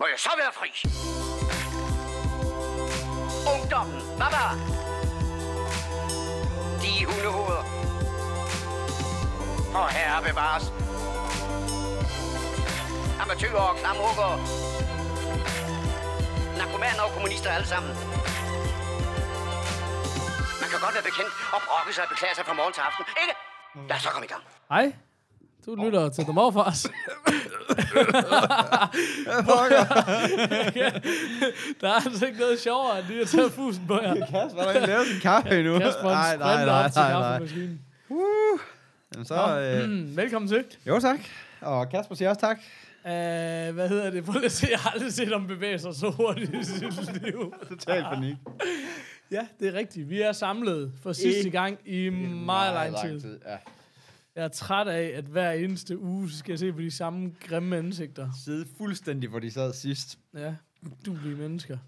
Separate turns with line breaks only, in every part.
må jeg så være fri? Ungdommen, baba! De hundehoveder. Og herre bevares. Amatøger og klamrukker. Narkomaner og kommunister alle sammen. Man kan godt være bekendt og brokke sig og beklage sig fra morgen til aften, ikke? Lad os så komme i gang.
Hej. Du lytter oh. til The Morfars. der er altså ikke noget sjovere, end lige at tage fusen på jer.
Kasper, har ikke lavet sin kaffe endnu.
Kasper, nej, nej, nej, nej, nej.
Jamen, så, øh,
Mm, velkommen til.
jo tak. Og Kasper siger også tak.
Uh, hvad hedder det? Prøv lige at se. Jeg har aldrig set om bevæge sig så hurtigt i sit liv.
Total panik.
Ja, det er rigtigt. Vi er samlet for sidste gang i meget lang tid.
Ja.
Jeg er træt af, at hver eneste uge skal jeg se på de samme grimme ansigter.
Sidde fuldstændig, hvor de sad sidst.
Ja, duelige mennesker.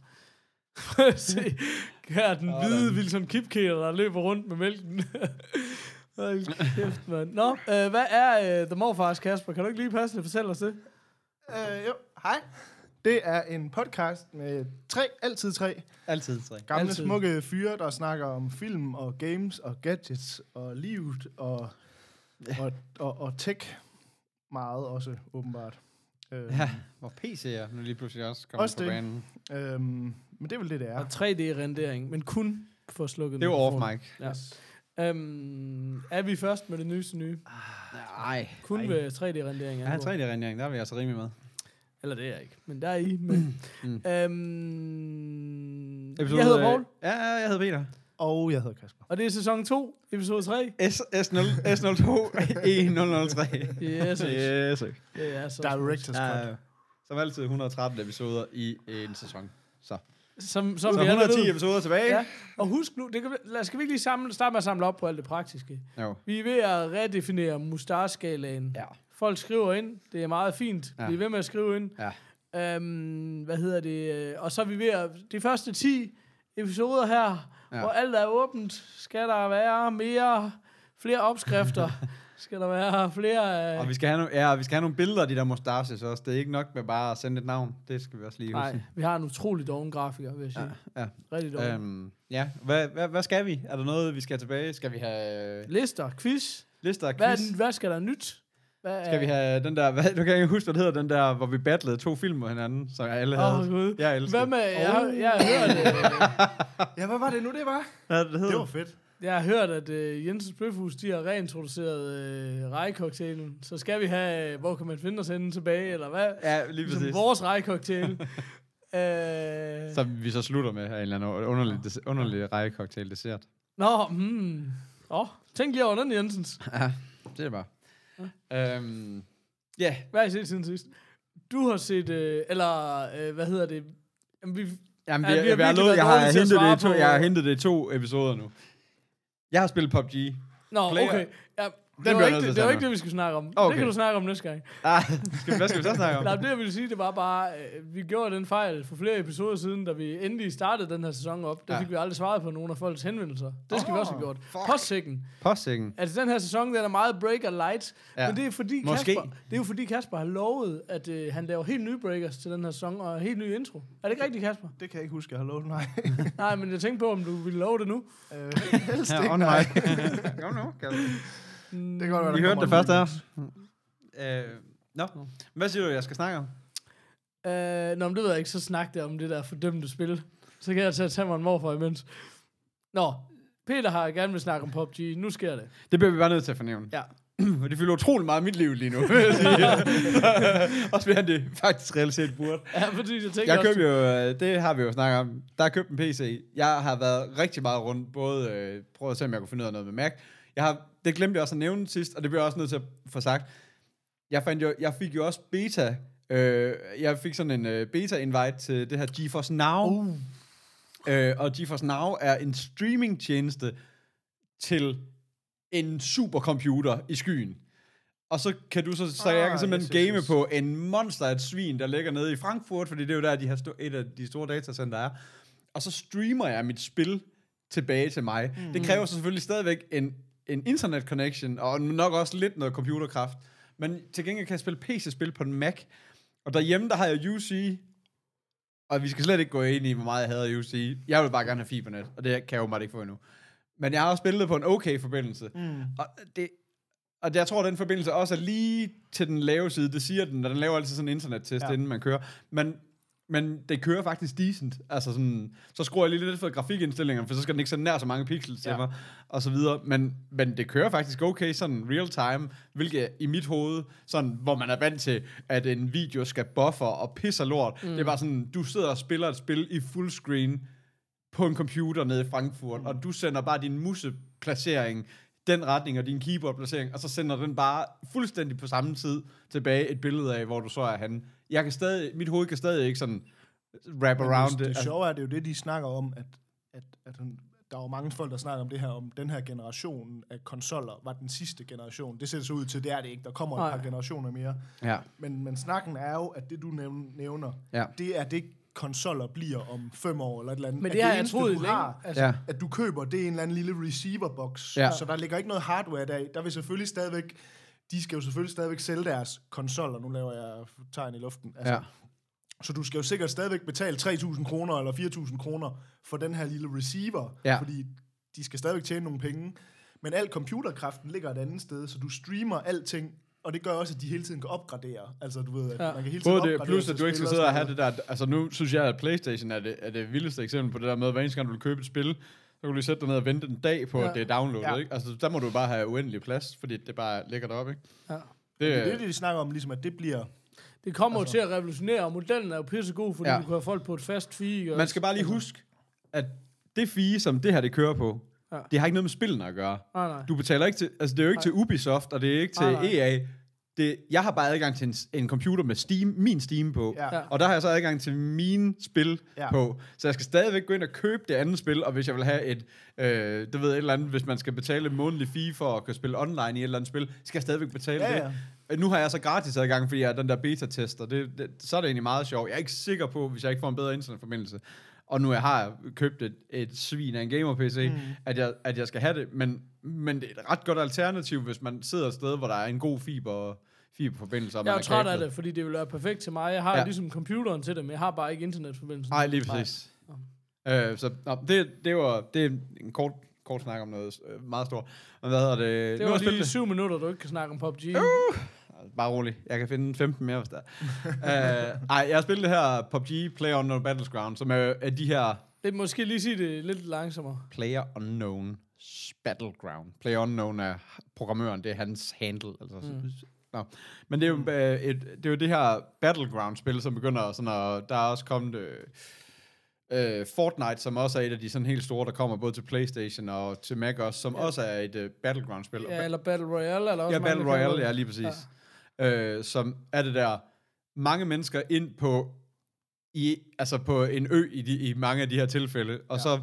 Se, her er den hvide Wilson Kipketer, der løber rundt med mælken. Hold kæft, mand. Nå, øh, hvad er øh, The Morfars, Kasper? Kan du ikke lige passende fortælle os det?
Øh, jo, hej. Det er en podcast med tre, altid tre,
Altid tre.
gamle
Altid.
altid. smukke fyre, der snakker om film og games og gadgets og livet og, og, og, og tech meget også, åbenbart. Øh,
Ja, hvor PC'er nu lige pludselig også kommer
Også
på
det.
banen.
øh, men det er vel det, det
Og
er.
3D-rendering, men kun for at slukke
Det var off mic.
Ja. Øhm, er vi først med det nyeste nye?
Nej.
Kun ved 3D-rendering.
Jeg har 3D-rendering, der er vi altså rimelig med.
Eller det er jeg ikke, men der er I med. mm. øhm, jeg
øh,
hedder Paul,
Ja, ja, jeg hedder Peter.
Og jeg hedder Kasper.
og det er sæson 2, episode 3.
S, E S0, S02, E003.
Yes, yes.
Yes.
Det er så
Directors Cut.
Ja, som altid 113 episoder i en sæson. Så,
Som, som
så
vi allerede
110
ved.
episoder tilbage.
Ja. Og husk nu, det kan, vi- lad, skal vi ikke lige samle, starte med at samle op på alt det praktiske?
Jo.
Vi er ved at redefinere mustache-skalaen.
Ja.
Folk skriver ind, det er meget fint. Ja.
Ja.
Bliv ved med at skrive ind.
Ja.
Øhm, hvad hedder det? øh, Og så er vi ved at... De første 10 episoder her, ja.
Ja.
hvor alt er åbent, skal der være mere... Flere opskrifter. skal der være flere...
Og vi skal, have nogle, ja, og vi skal have nogle billeder af de der mustaches også. Det er ikke nok med bare at sende et navn. Det skal vi også lige
Øh, Nej,
huske.
vi har en utrolig doven grafiker, vil jeg sige.
Ja.
Rigtig doven.
Øhm, ja. Hvad, hvad, hvad skal vi? Er der noget, vi skal tilbage? Skal vi have øh,
Lister, quiz.
lister og quiz?
Hvad, er den, hvad skal der nyt? Hvad
Skal vi have den der, hvad, nu kan jeg ikke huske, hvad det hedder, den der, hvor vi battlede to film mod hinanden, som jeg alle
Åh,
havde.
Gud.
Jeg elsker.
Hvad med, jeg, har- jeg, har hørt, øh,
Ja, hvad var det nu, det var?
Hvad det
Det
hedder?
var fedt.
jeg har hørt, at øh, Jensens Bøfhus, de har reintroduceret øh, rejekocktailen. Så skal vi have, øh, hvor kan man finde os henne tilbage, eller hvad?
Ja, lige
Ligesom
præcis.
vores rejekoktail. øh,
Som vi så slutter med her, en eller anden underlig, des- underlig rækkecocktail dessert.
nå, hmm. Åh, tænk lige over den, Jensens.
Ja, det er bare. Ja. Øhm, ja,
Hvad har I set siden sidst? Du har set, øh, eller øh, hvad hedder det? Jamen, vi,
Jamen,
Ja,
vi,
vi
ja,
har
vi har, vi har
virkelig
lovet,
været
jeg, har
dårlige til at
hentet det i to,
svare på-
jeg har hentet det i to episoder nu. Jeg har spillet PUBG.
nå,
Player.
okay. Ja, det,
bliver
var
jeg nødt
ikke,
til
det,
at
det var
tage
ikke
nu.
det, vi skulle snakke om.
Okay.
Det kan du snakke om næste gang.
Ah, skal, vi- hvad skal vi så snakke om?
Nej, det jeg ville sige, det var bare, øh, vi gjorde den fejl for flere episoder siden, da vi endelig startede den her sæson op. Der
Ja.
fik vi aldrig svaret på nogen af folks henvendelser. Det skal oh, vi også have gjort. Postsækken.
Postsækken.
Altså, den her sæson, den er meget breaker light. Ja.
Ja.
Men det er, fordi
Måske.
Kasper, det er jo fordi, Kasper har lovet, at øh, han laver helt nye breakers til den her sæson, og helt ny intro. Er det ikke rigtigt, Kasper?
Det kan jeg ikke huske, jeg har lovet nej.
Nej, men jeg tænkte på, om du ville love det nu.
Øh, helst
Ja,
ikke,
on
nej.
mic. jo, no,
Det kan godt være,
Vi
der
hørte
kommer
det
en
første
ny.
her. Øh, Nå, hvad siger du, jeg skal snakke om?
Øh, nå, men det ved jeg ikke, så snak der om det der fordømte spil. Så kan jeg tage, tage mig en morfar imens. Nå, Peter har gerne vil snakke om PUBG. Nu sker det.
Det bliver vi bare nødt til at fornævne.
Ja.
For det fylder utrolig meget af mit liv lige nu, vil jeg sige. Også mere end det faktisk reelt set burde.
Ja, fordi jeg tænker
Jeg
også,
købte jo, øh, det har vi jo snakket om, der har købt en PC. Jeg har været rigtig meget rundt, både øh, prøvet at se, om jeg kunne finde ud af noget med Mac. Jeg har, det glemte jeg også at nævne sidst, og det bliver jeg også nødt til at få sagt. Jeg, fandt jo, jeg fik jo også beta, øh, jeg fik sådan en øh, beta-invite til det her GeForce Now. Uh. Øh, og GeForce Now er en streamingtjeneste til en supercomputer i skyen. Og så kan du så, så jeg kan
Ah,
simpelthen
yes, yes,
game
yes.
på en monster af et svin, der ligger nede i Frankfurt, fordi det er jo der, de har sto- et af de store datacenter er. Og så streamer jeg mit spil tilbage til mig. Mm. Det kræver så selvfølgelig stadigvæk en, en internet connection, og nok også lidt noget computerkraft. Men til gengæld kan jeg spille PC-spil på en Mac. Og derhjemme, der har jeg UC Og vi skal slet ikke gå ind i, hvor meget jeg hader UC. Jeg vil bare gerne have fibernet, og det kan jeg åbenbart ikke få endnu. Men jeg har også spillet på en okay forbindelse. Mm. Og, det, og jeg tror, at den forbindelse også er lige til den lave side. Det siger den, og den laver altid sådan en internettest, ja. inden man kører. Men, men det kører faktisk decent. Altså sådan, så skruer jeg lige lidt for grafikindstillingerne, for så skal den ikke så nær så mange pixels til
Ja.
mig, og så videre. Men, men det kører faktisk okay sådan real time, hvilket i mit hoved, sådan, hvor man er vant til, at en video skal buffer og pisser lort. Mm. Det er bare sådan, du sidder og spiller et spil i full screen, på en computer nede i Frankfurt, mm. og du sender bare din museplacering den retning, og din keyboardplacering, og så sender den bare fuldstændig på samme tid tilbage et billede af, hvor du så er han. Jeg kan stadig, mit hoved kan stadig ikke sådan wrap around det.
det, det
Altså,
sjove er, det er jo det, de snakker om, at, at, at hun, der er jo mange folk, der snakker om det her, om den her generation af konsoller var den sidste generation. Det ser det så ud til, det er det ikke. Der kommer et
Nej.
par generationer mere.
ja,
Men, men snakken er jo, at det, du nævn- nævner,
Ja.
det er det, konsoller bliver om fem år eller et eller andet.
Men
At
det har jeg
eneste,
troet
du
længe.
har,
Altså,
ja,
at du køber, det er en eller anden lille receiver-boks.
Ja.
Ja. Så der ligger ikke noget hardware der. Der vil selvfølgelig stadigvæk, de skal jo selvfølgelig stadigvæk sælge deres konsoller. Nu laver jeg tegn i luften. Altså,
ja,
ja. Så du skal jo sikkert stadigvæk betale 3.000 kroner eller 4.000 kroner for den her lille receiver,
Ja.
fordi de skal stadigvæk tjene nogle penge. Men al computerkraften ligger et andet sted, så du streamer alting, og det gør også, at de hele tiden kan opgradere. Altså, du ved, at
Ja.
ja. man kan hele tiden
Både det,
opgradere.
plus
til
at du ikke skal
spil
sidde og
sådan
have
noget.
det der, altså nu synes jeg, at Playstation er det, er det vildeste eksempel på det der med, at hver eneste gang du vil købe et spil, så kan du lige sætte dig ned og vente en dag på, ja. at det er downloadet, ja.
Ja.
ikke? Altså der må du bare have uendelig plads, fordi det bare ligger deroppe, ikke?
Ja.
Det,
Det er det, de snakker om, ligesom, at det bliver...
det kommer altså. til at revolutionere, og modellen er jo pissegod, fordi
Ja.
ja. du kan have folk på et fast fee. Og
Man skal bare lige huske, at det fie, som det her det kører på, ja.
Ja.
det har ikke noget med spillene at gøre.
Nej, nej.
Du betaler ikke til, altså det er jo ikke til Ubisoft, og det er ikke til
Nej, nej.
EA. Det, jeg har bare adgang til en, s- en computer med Steam, min Steam på,
Ja. Ja.
og der har jeg så adgang til mine spil ja.
Ja.
på. Så jeg skal stadigvæk gå ind og købe det andet spil, og hvis jeg vil have et, øh, det ved jeg, et eller andet, hvis man skal betale en månedlig fee for at kunne spille online i et eller andet spil, skal jeg stadigvæk betale
Ja,
det. Nu har jeg så gratis adgang, fordi jeg er den der beta-tester. Det, det, så er det egentlig meget sjovt. Jeg er ikke sikker på, hvis jeg ikke får en bedre internetforbindelse, og nu jeg har købt et, et svin af en gamer-PC, mm. at, jeg, at jeg skal have det. Men, men det er et ret godt alternativ, hvis man sidder et sted, hvor der er en god fiber, fiberforbindelse. og man
Jeg er jo træt af
kablet.
det, fordi det vil være perfekt til mig. Jeg har
Ja.
ja. ligesom computeren til det, men jeg har bare ikke internetforbindelsen.
Nej, lige præcis. Øh, så nå, det, det var det er en kort, kort snak om noget øh, meget stort. Men hvad hedder det?
Det
har
var
jeg spillet Uh.
lige syv minutter, du ikke kan snakke om PUBG.
Bare rolig. Jeg kan finde 15 mere, hvis der er. øh, ej, jeg har spillet det her PUBG Player Unknown Battleground, som er, er de her
Det måske lige sige det lidt langsommere.
Player Unknown Battleground. Player Unknown er programmøren, det er hans handle. Altså, mm. Nå. Men det er, jo, øh, et, det er jo det her Battleground-spil, som begynder sådan at... Der er også kommet... Øh, øh, Fortnite, som også er et af de sådan helt store, der kommer både til Playstation og til Mac også, som ja. også er et øh, Battleground-spil. Og
Ja, eller Battle Royale. Eller også
Ja,
mange,
Battle
der kalder
Royale,
det.
ja, lige præcis. Ja. Øh, som er det der, mange mennesker ind på, i, altså på en ø i, de, i mange af de her tilfælde, og ja. så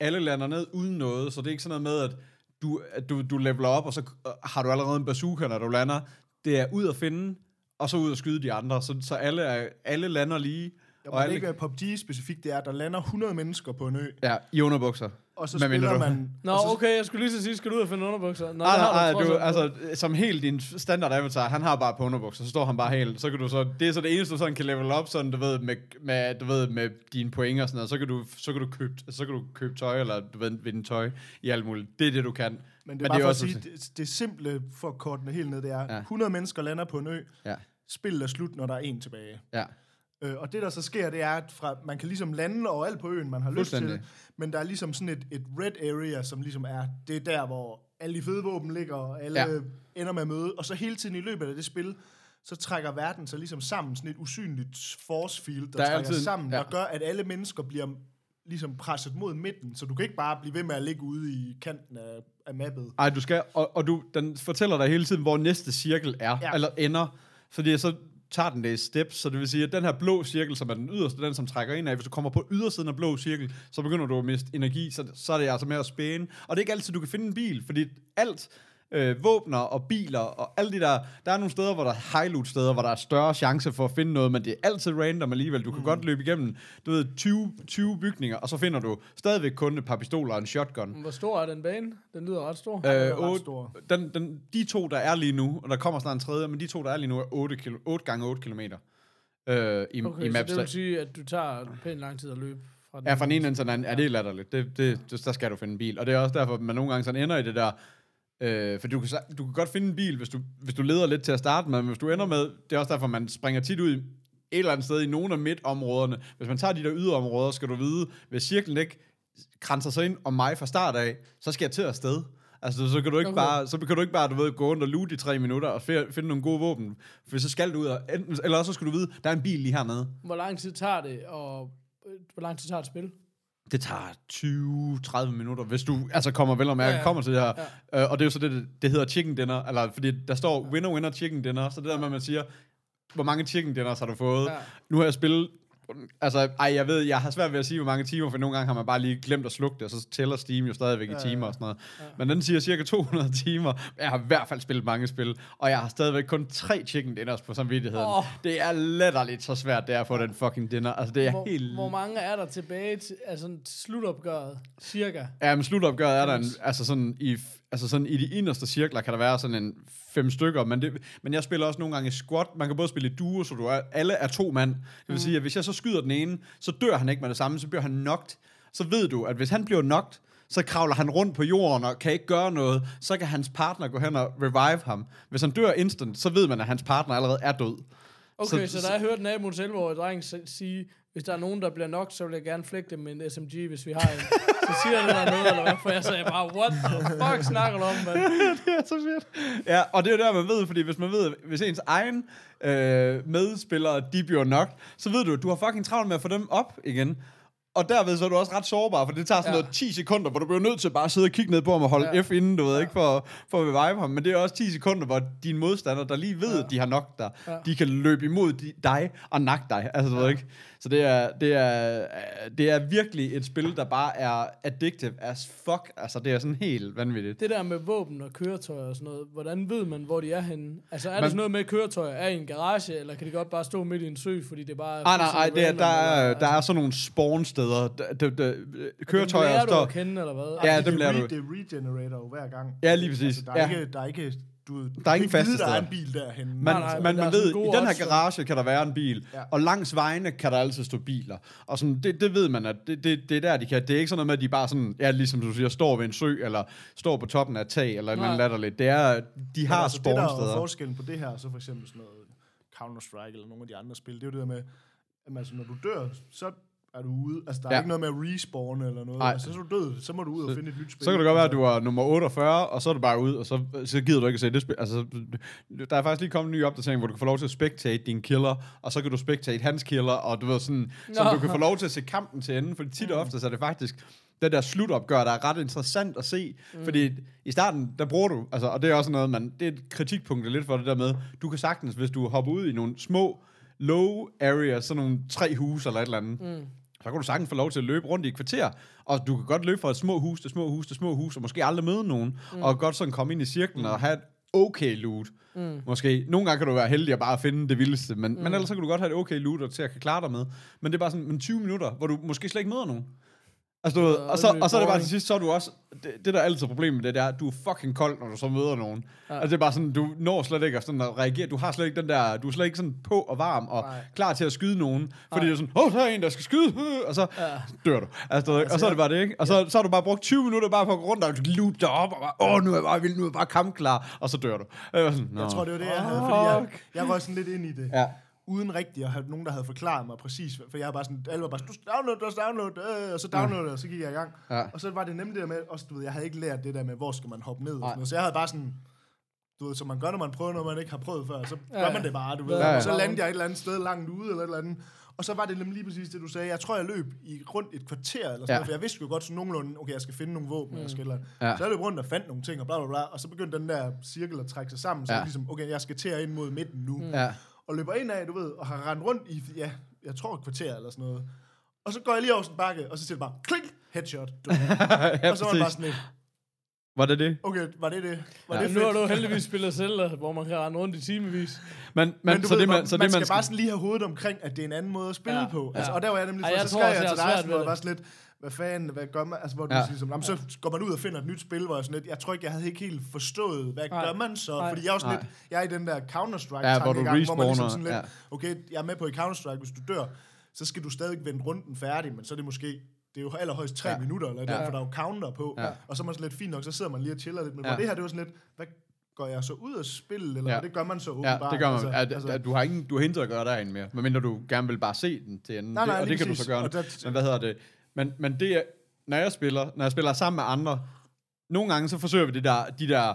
alle lander ned uden noget, så det er ikke sådan noget med, at du, at du, du leveler op, og så øh, har du allerede en bazooka, når du lander. Det er ud at finde, og så ud at skyde de andre, så, så alle, er, alle lander lige.
Jeg må
og
det
alle,
ikke være PUBG specifikt, det er, at der lander 100 mennesker på en ø,
Ja, i underbukser.
og så
Hvad mener
spiller
du?
man...
Nå,
og så
okay, jeg skulle lige så sige, skal du ud og finde underbukser? Nå, det har
Nej, nej, nej,
trods
du,
alt.
altså, som helt din standard avatar, han har bare på underbukser, så står han bare helt, så kan du så, det er så det eneste, du sådan kan level op, sådan, du ved, med, med, du ved, med dine point og sådan noget, så kan du, så kan du købe, så kan du købe tøj, eller du ved, vinde tøj i alt muligt, det er det, du kan.
Men det er bare for at
også-
sige, det, det simple for at korte den helt ned, det er,
Ja.
ja. 100 mennesker lander på en ø,
Ja,
spillet er slut, når der er en tilbage.
ja,
Øh, og det, der så sker, det er, at fra, man kan ligesom lande overalt på øen, man har lyst til,
Fuldstændig.
men der er ligesom sådan et, et red area, som ligesom er, det er der, hvor alle de fede våben ligger, og alle
Ja.
ja. ender med at møde, og så hele tiden i løbet af det spil, så trækker verden sig ligesom sammen, sådan et usynligt force field, der,
Der
der
er
trækker
altid en-
altid, sammen,
ja.
ja. der gør, at alle mennesker bliver ligesom presset mod midten, så du kan ikke bare blive ved med at ligge ude i kanten af, af mappet.
ej, du skal, og, og du, den fortæller dig hele tiden, hvor næste cirkel er, ja.
Ja.
eller ender, fordi så tager den det i steps, så det vil sige, at den her blå cirkel, som er den yderste, den som trækker ind af, hvis du kommer på ydersiden af blå cirkel, så begynder du at miste energi, så, så er det altså med at spæne. Og det er ikke altid, du kan finde en bil, fordi alt, øh, våbner og biler og alle de der, der er nogle steder, hvor der er high loot steder, hvor der er større chance for at finde noget, men det er altid random alligevel. Du kan mm. godt løbe igennem, du ved, 20, 20 bygninger, og så finder du stadigvæk kun et par pistoler og en shotgun.
Hvor stor er den bane? Den lyder ret stor.
er
Øh,
ret
otte-
stor.
den, den, de to, der er lige nu, og der kommer snart en tredje, men de to, der er lige nu, er 8, kilo, 8 gange 8 kilometer. øh, i,
Okay,
i
så det
Mapster.
vil sige, at du tager pænt lang tid at løbe fra den
Ja, fra den ene ende til den anden. Ja, det er latterligt. Det, det, det, der skal du finde en bil. Og det er også derfor, at man nogle gange sådan ender i det der... Øh, for du kan, sa- du kan godt finde en bil, hvis du, hvis du leder lidt til at starte med, men hvis du ender med... Det er også derfor, man springer tit ud i et eller andet sted i nogle af midtområderne. Hvis man tager de der yderområder, skal du vide, hvis cirklen ikke kranser sig ind om mig fra start af, så skal jeg til afsted. Altså, så kan du ikke
Okay.
okay. bare, så kan du ikke bare, du ved, gå rundt og lute i tre minutter og fe- finde nogle gode våben. For så skal du ud og enten, eller også så skal du vide, der er en bil lige hernede.
Hvor lang tid tager det, og øh, hvor lang tid tager det at spille?
det tager 20-30 minutter, hvis du altså kommer vel og mærke,
Ja,
ja,
ja.
ja. kommer til det her. Ja. Øh, og det er jo så det, det- det hedder chicken dinner, eller fordi der står winner, winner, chicken dinner, så det der med, at man siger, hvor mange chicken dinners har du fået?
Ja.
Ja. Nu har jeg spillet, altså ej, jeg ved, jeg har svært ved at sige, hvor mange timer, for nogle gange har man bare lige glemt at slukke det, og så tæller Steam jo stadigvæk ja, i timer og sådan noget. Ja. Men den siger cirka 200 timer, jeg har i hvert fald spillet mange spil, og jeg har stadigvæk kun tre chicken dinners på samvittigheden.
Åh.
Oh. Det er latterligt så svært, det er at få den fucking dinner. Altså det er helt
Hvor, hvor mange er der tilbage til, altså, sådan til slutopgøret, cirka?
Ja, men slutopgøret er der en, altså sådan i, altså sådan i de inderste cirkler kan der være sådan en fem stykker, men, det, men jeg spiller også nogle gange i squat. Man kan både spille i duo, så du er, alle er to mand. Det vil sige, at hvis jeg så skyder den ene, så dør han ikke med det samme, så bliver han knocked. Så ved du, at hvis han bliver knocked, så kravler han rundt på jorden og kan ikke gøre noget, så kan hans partner gå hen og revive ham. Hvis han dør instant, så ved man, at hans partner allerede er død.
Okay, så,
Så-
så der har jeg hørt naboen selv, hvor dreng s- sige, hvis der er nogen, der bliver nok, så vil jeg gerne flække dem med en SMG, hvis vi har en. så siger han der noget, eller hvad? For jeg sagde bare, what the fuck snakker du om, mand?
det er så fedt. Ja, og det er jo der, man ved, fordi hvis man ved, hvis ens egen øh, medspillere, de bliver nok, så ved du, at du har fucking travlt med at få dem op igen. Og derved så er du også ret sårbar, for det tager sådan
Ja.
ja. noget 10 sekunder, hvor du bliver nødt til bare at sidde og kigge ned på ham og holde
Ja.
ja. F inden, du ved ikke, for, for at revive ham. Men det er også 10 sekunder, hvor dine modstandere, der lige ved, ja. at de har nok dig,
Ja.
ja. de kan løbe imod de, dig og nakke dig. Altså, du ja. ved ikke. Så det er, det, er, det er virkelig et spil, der bare er addictive as fuck. Altså, det er sådan helt vanvittigt.
Det der med våben og køretøjer og sådan noget, hvordan ved man, hvor de er henne? Altså, er man, der
Man-
sådan noget med at køretøjer? Er i en garage, eller kan de godt bare stå midt i en sø, fordi det bare er...
Ah, Nej, nej, nej,
fuldstændig
det er,
random,
der, er,
eller-
der er sådan nogle spawnsteder. Der, der, der, der,
Dem
køretøjer
lærer du
står...
at kende, eller hvad?
Ja,
Altså,
dem
det,
lærer
re-
du.
det regenerater jo hver gang.
Ja, lige præcis.
Altså, der, er
Ja.
ikke, der er ikke... Du, ved, du
Der er
kan
ingen
ikke vide,
faste
Der er
steder.
en bil derhen.
Man,
Nej, nej, men
man,
der er
man
sådan
ved, i
gode
den her
odds for-
garage kan der være en bil,
Ja.
ja. og langs vejene kan der altid stå biler. Og sådan, det, det ved man, at det, det, det er der, de kan. Det er ikke sådan noget med, at de bare sådan, ja, ligesom du siger, står ved en sø, eller står på toppen af et tag, eller
Nej.
noget latterligt. Det er, de har
altså, det, der er
spawnsteder.
forskellen på det her, så for eksempel sådan noget Counter-Strike eller nogle af de andre spil, det er jo det der med, at altså, når du dør, så er du ude. Altså, der er
Ja.
ikke noget med at respawn eller noget.
Nej.
Altså, så er du død, så må du ud og finde et nyt spil.
Så kan det godt være, at
Altså,
du er nummer 48, og så er du bare ud, og så, så gider du ikke at se det spil. Altså, der er faktisk lige kommet en ny opdatering, hvor du kan få lov til at spectate din killer, og så kan du spectate hans killer, og du ved sådan, så
Nå.
du kan få lov til at se kampen til enden, for tit og ofte så er det faktisk det der slutopgør, der er ret interessant at se, mm. fordi i starten, der bruger du, altså, og det er også noget, man, det er et kritikpunkt lidt for det der med, du kan sagtens, hvis du hopper ud i nogle små low areas, sådan nogle tre huse eller et eller andet, mm så kan du sagtens få lov til at løbe rundt i et kvarter, og du kan godt løbe fra et små hus til små hus til små hus, og måske aldrig møde nogen, mm. og godt sådan komme ind i cirklen og have et okay loot. Mm. Måske. Nogle gange kan du være heldig at bare finde det vildeste, men, mm. men ellers så kan du godt have et okay loot og til at kan klare dig med. Men det er bare sådan men 20 minutter, hvor du måske slet ikke møder nogen. Altså, du, ved, og, så,
lidt
og så er det bare
boring.
til sidst, så er du også, det, det der er altid problemet med det, det er, at du er fucking kold, når du så møder nogen. Ja. Altså det er bare sådan, du når slet ikke at, sådan at reagere, du har slet ikke den der, du er slet ikke sådan på og varm og
Nej.
Nej. klar til at skyde nogen, fordi det er sådan, åh, oh, der er en, der skal skyde, øh," og så dør du. Altså, altså, og så er det bare det, ikke? Og så, så har du bare brugt 20 minutter bare på at gå rundt og loot dig op, og bare, åh, oh, nu er jeg bare vild, nu er jeg bare kampklar, og så dør du. Og Jeg, var sådan,
Jeg
"Nå."
tror, det var det, jeg havde, fordi jeg, jeg røg sådan lidt ind i det.
Ja.
Uden rigtig at have nogen, der havde forklaret mig præcis. For jeg var bare sådan, alle var bare sådan, du skal download, du skal download, øh, og så downloadede jeg, og så gik jeg i gang.
Ja.
Og så var det nemlig det der med, også, du ved, jeg havde ikke lært det der med, hvor skal man hoppe ned. Og sådan
Nej.
noget. Så jeg havde bare sådan, du ved, som man gør, når man prøver noget, man ikke har prøvet før, så
Ja,
ja,
ja.
gør man det bare, du ved.
Ja,
Ja,
ja.
ja. Så landede jeg et eller andet sted langt ude, eller et eller andet. Og så var det nemlig lige præcis det, du sagde. Jeg tror, jeg løb i rundt et kvarter, eller sådan ja.
Ja.
noget, for jeg vidste jo godt sådan nogenlunde, okay, jeg skal finde nogle våben, mm. jeg skal et eller andet.
Ja.
Så jeg løb rundt og fandt nogle ting, og bla bla bla, og så begyndte den der cirkel at trække sig sammen, så
Ja.
jeg ligesom, okay, jeg skal til at ind mod midten nu. Mm.
Ja.
Og løber ind af, du ved, og har rendt rundt i, ja, jeg tror et kvarter eller sådan noget. Og så går jeg lige over sådan en bakke, og så siger det bare, klik, headshot. Du.
ja,
og så var det bare
præcis.
sådan et,
Var det det?
Okay, var det det? Var
Ja.
det
Men nu har
fedt?
du heldigvis spillet Zelda, hvor man kan rende rundt i timevis.
Men, men,
Men du
så,
ved,
det,
man,
man, så
man
det,
skal,
man
bare sådan lige have hovedet omkring, at det er en anden måde at spille
Ja,
ja, på.
ja.
Altså, Og der var jeg nemlig,
Ej,
Ej,
jeg
så
tror
skrev
også,
jeg
jeg
til
har
dig,
svært
sådan, hvor
ved
jeg var sådan lidt, hvad fanden, hvad gør man? Altså, hvor du
Ja.
ja. siger, som, "Nå, men så går man ud og finder et nyt spil, hvor jeg sådan lidt, jeg tror ikke, jeg havde ikke helt forstået, hvad
Nej.
gør man så?
Nej.
Fordi jeg er også
Nej.
lidt, jeg er i den der Counter-Strike
Ja, hvor du
tankegang, hvor man
respawner,
ligesom sådan lidt, okay, jeg er med på i Counter-Strike, hvis du dør, så skal du stadig vende runden færdig, men så er det måske, det er jo allerhøjst tre
Ja.
minutter, eller ja.
Ja.
for der er jo counter på,
Ja.
ja. og så er man sådan lidt, fint nok, så sidder man lige og chiller lidt, men
Ja.
ja. det her, det var sådan lidt, hvad går jeg så ud af spillet, eller
Ja.
ja. det gør man så
Ja,
åbenbart.
det gør man. Altså, at,
altså-
at du har ingen, du har intet at gøre derinde mere, medmindre du gerne vil bare se den til enden.
Nej, nej,
det, og
lige
det kan du
præcis.
så gøre.
Og
nu.
der-
men hvad hedder det? Men, men det er, når jeg spiller, når jeg spiller sammen med andre, nogle gange så forsøger vi det der, de der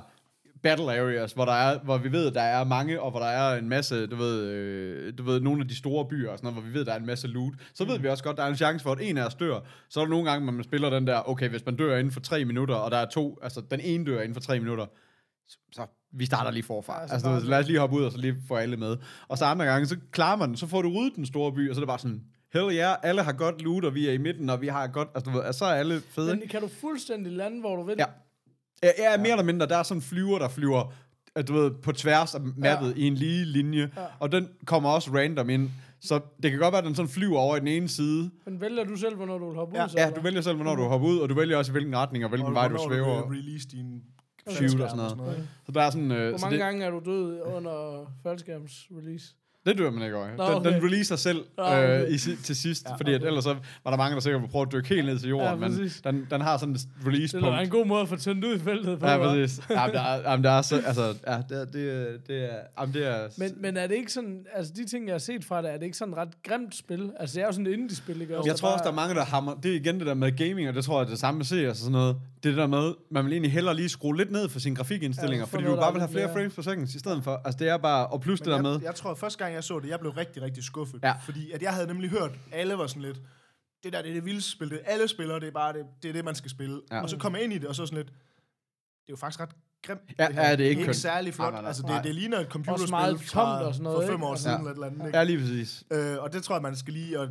battle areas, hvor, der er, hvor vi ved, der er mange, og hvor der er en masse, du ved, øh, du ved, nogle af de store byer og sådan noget, hvor vi ved, der er en masse loot. Så
Mm.
ved vi også godt, der er en chance for, at en af os dør. Så er der nogle gange, når man spiller den der, okay, hvis man dør inden for tre minutter, og der er to, altså den ene dør inden for tre minutter, så vi starter lige forfra.
Ja, så
Altså, du ved, lad os lige hoppe ud og så lige få alle med. Og så andre gange, så klarer man den, så får du ryddet den store by, og så er det bare sådan, hell yeah, alle har godt loot, og vi er i midten, og vi har godt, altså du ved, altså, så er alle fede.
Men kan du fuldstændig lande, hvor du vil?
Ja. Ja, ja, mere eller mindre. Der er sådan en flyver, der flyver at du ved, på tværs af mappet ja. i en lige linje, ja. og den kommer også random ind. Så det kan godt være, at den sådan flyver over i den ene side.
Men vælger du selv, hvornår du vil hoppe
Ja,
ud? så,
ja
eller?
du vælger selv, hvornår du hopper ud, og du vælger også, i hvilken retning og hvilken
Og
vej du
hvornår
svæver.
vil release din
Shoot og sådan noget. Så der er sådan... Øh,
Hvor
så
mange
det,
gange er du død under faldskærms release?
det dør man ikke over.
Nå,
Den, okay. den
okay.
releaser selv
Nå, okay.
øh, i, si- til sidst, ja, fordi at ellers så var der mange, der sikkert ville prøve at dykke helt ned til jorden,
Ja,
ja, men
præcis.
den, den har sådan et
Det er da
release-punkt.
en god måde at få tændt ud i feltet på.
Ja,
hva'?
præcis. Ja, men der, er- jamen, der er så... Altså, ja, det, er- det, er- det er... Jamen, det er...
Men, men er det ikke sådan, altså de ting, jeg har set fra dig, er det ikke sådan et ret grimt spil? Altså det er jo sådan et indie-spil, ikke?
Jeg tror også, der er mange, der hammer... Det er igen det der med gaming, og det tror jeg er det samme med CS og sådan noget. Det er det der med, man vil egentlig hellere lige skrue lidt ned for sine grafikindstillinger,
Ja,
fordi
få
du
noget,
bare
der
vil
er
have flere
lidt mere-
frames per second i stedet for. Altså det er bare... Og plus det der
jeg,
med...
jeg tror, at første gang jeg så det, jeg blev rigtig, rigtig skuffet.
Ja.
Ja. Fordi at jeg havde nemlig hørt, alle var sådan lidt, det der det er det vildeste spil, det er alle spillere, det er bare det, det, er det man skal spille.
Ja.
Ja. Og så kom jeg ind i det, og så sådan lidt, det er jo faktisk ret grimt.
Ja,
det her.
ja, det er ikke
ikke
kønt.
særlig flot.
Nej, nej, nej.
altså,
Nej.
det, det ligner et computerspil
meget
fra,
tomt og sådan noget,
for fem
ikke?
år
Altså,
siden. Eller et eller andet, ikke?
Ja, lige præcis.
Øh, og det tror jeg, man skal lige... Og, øh,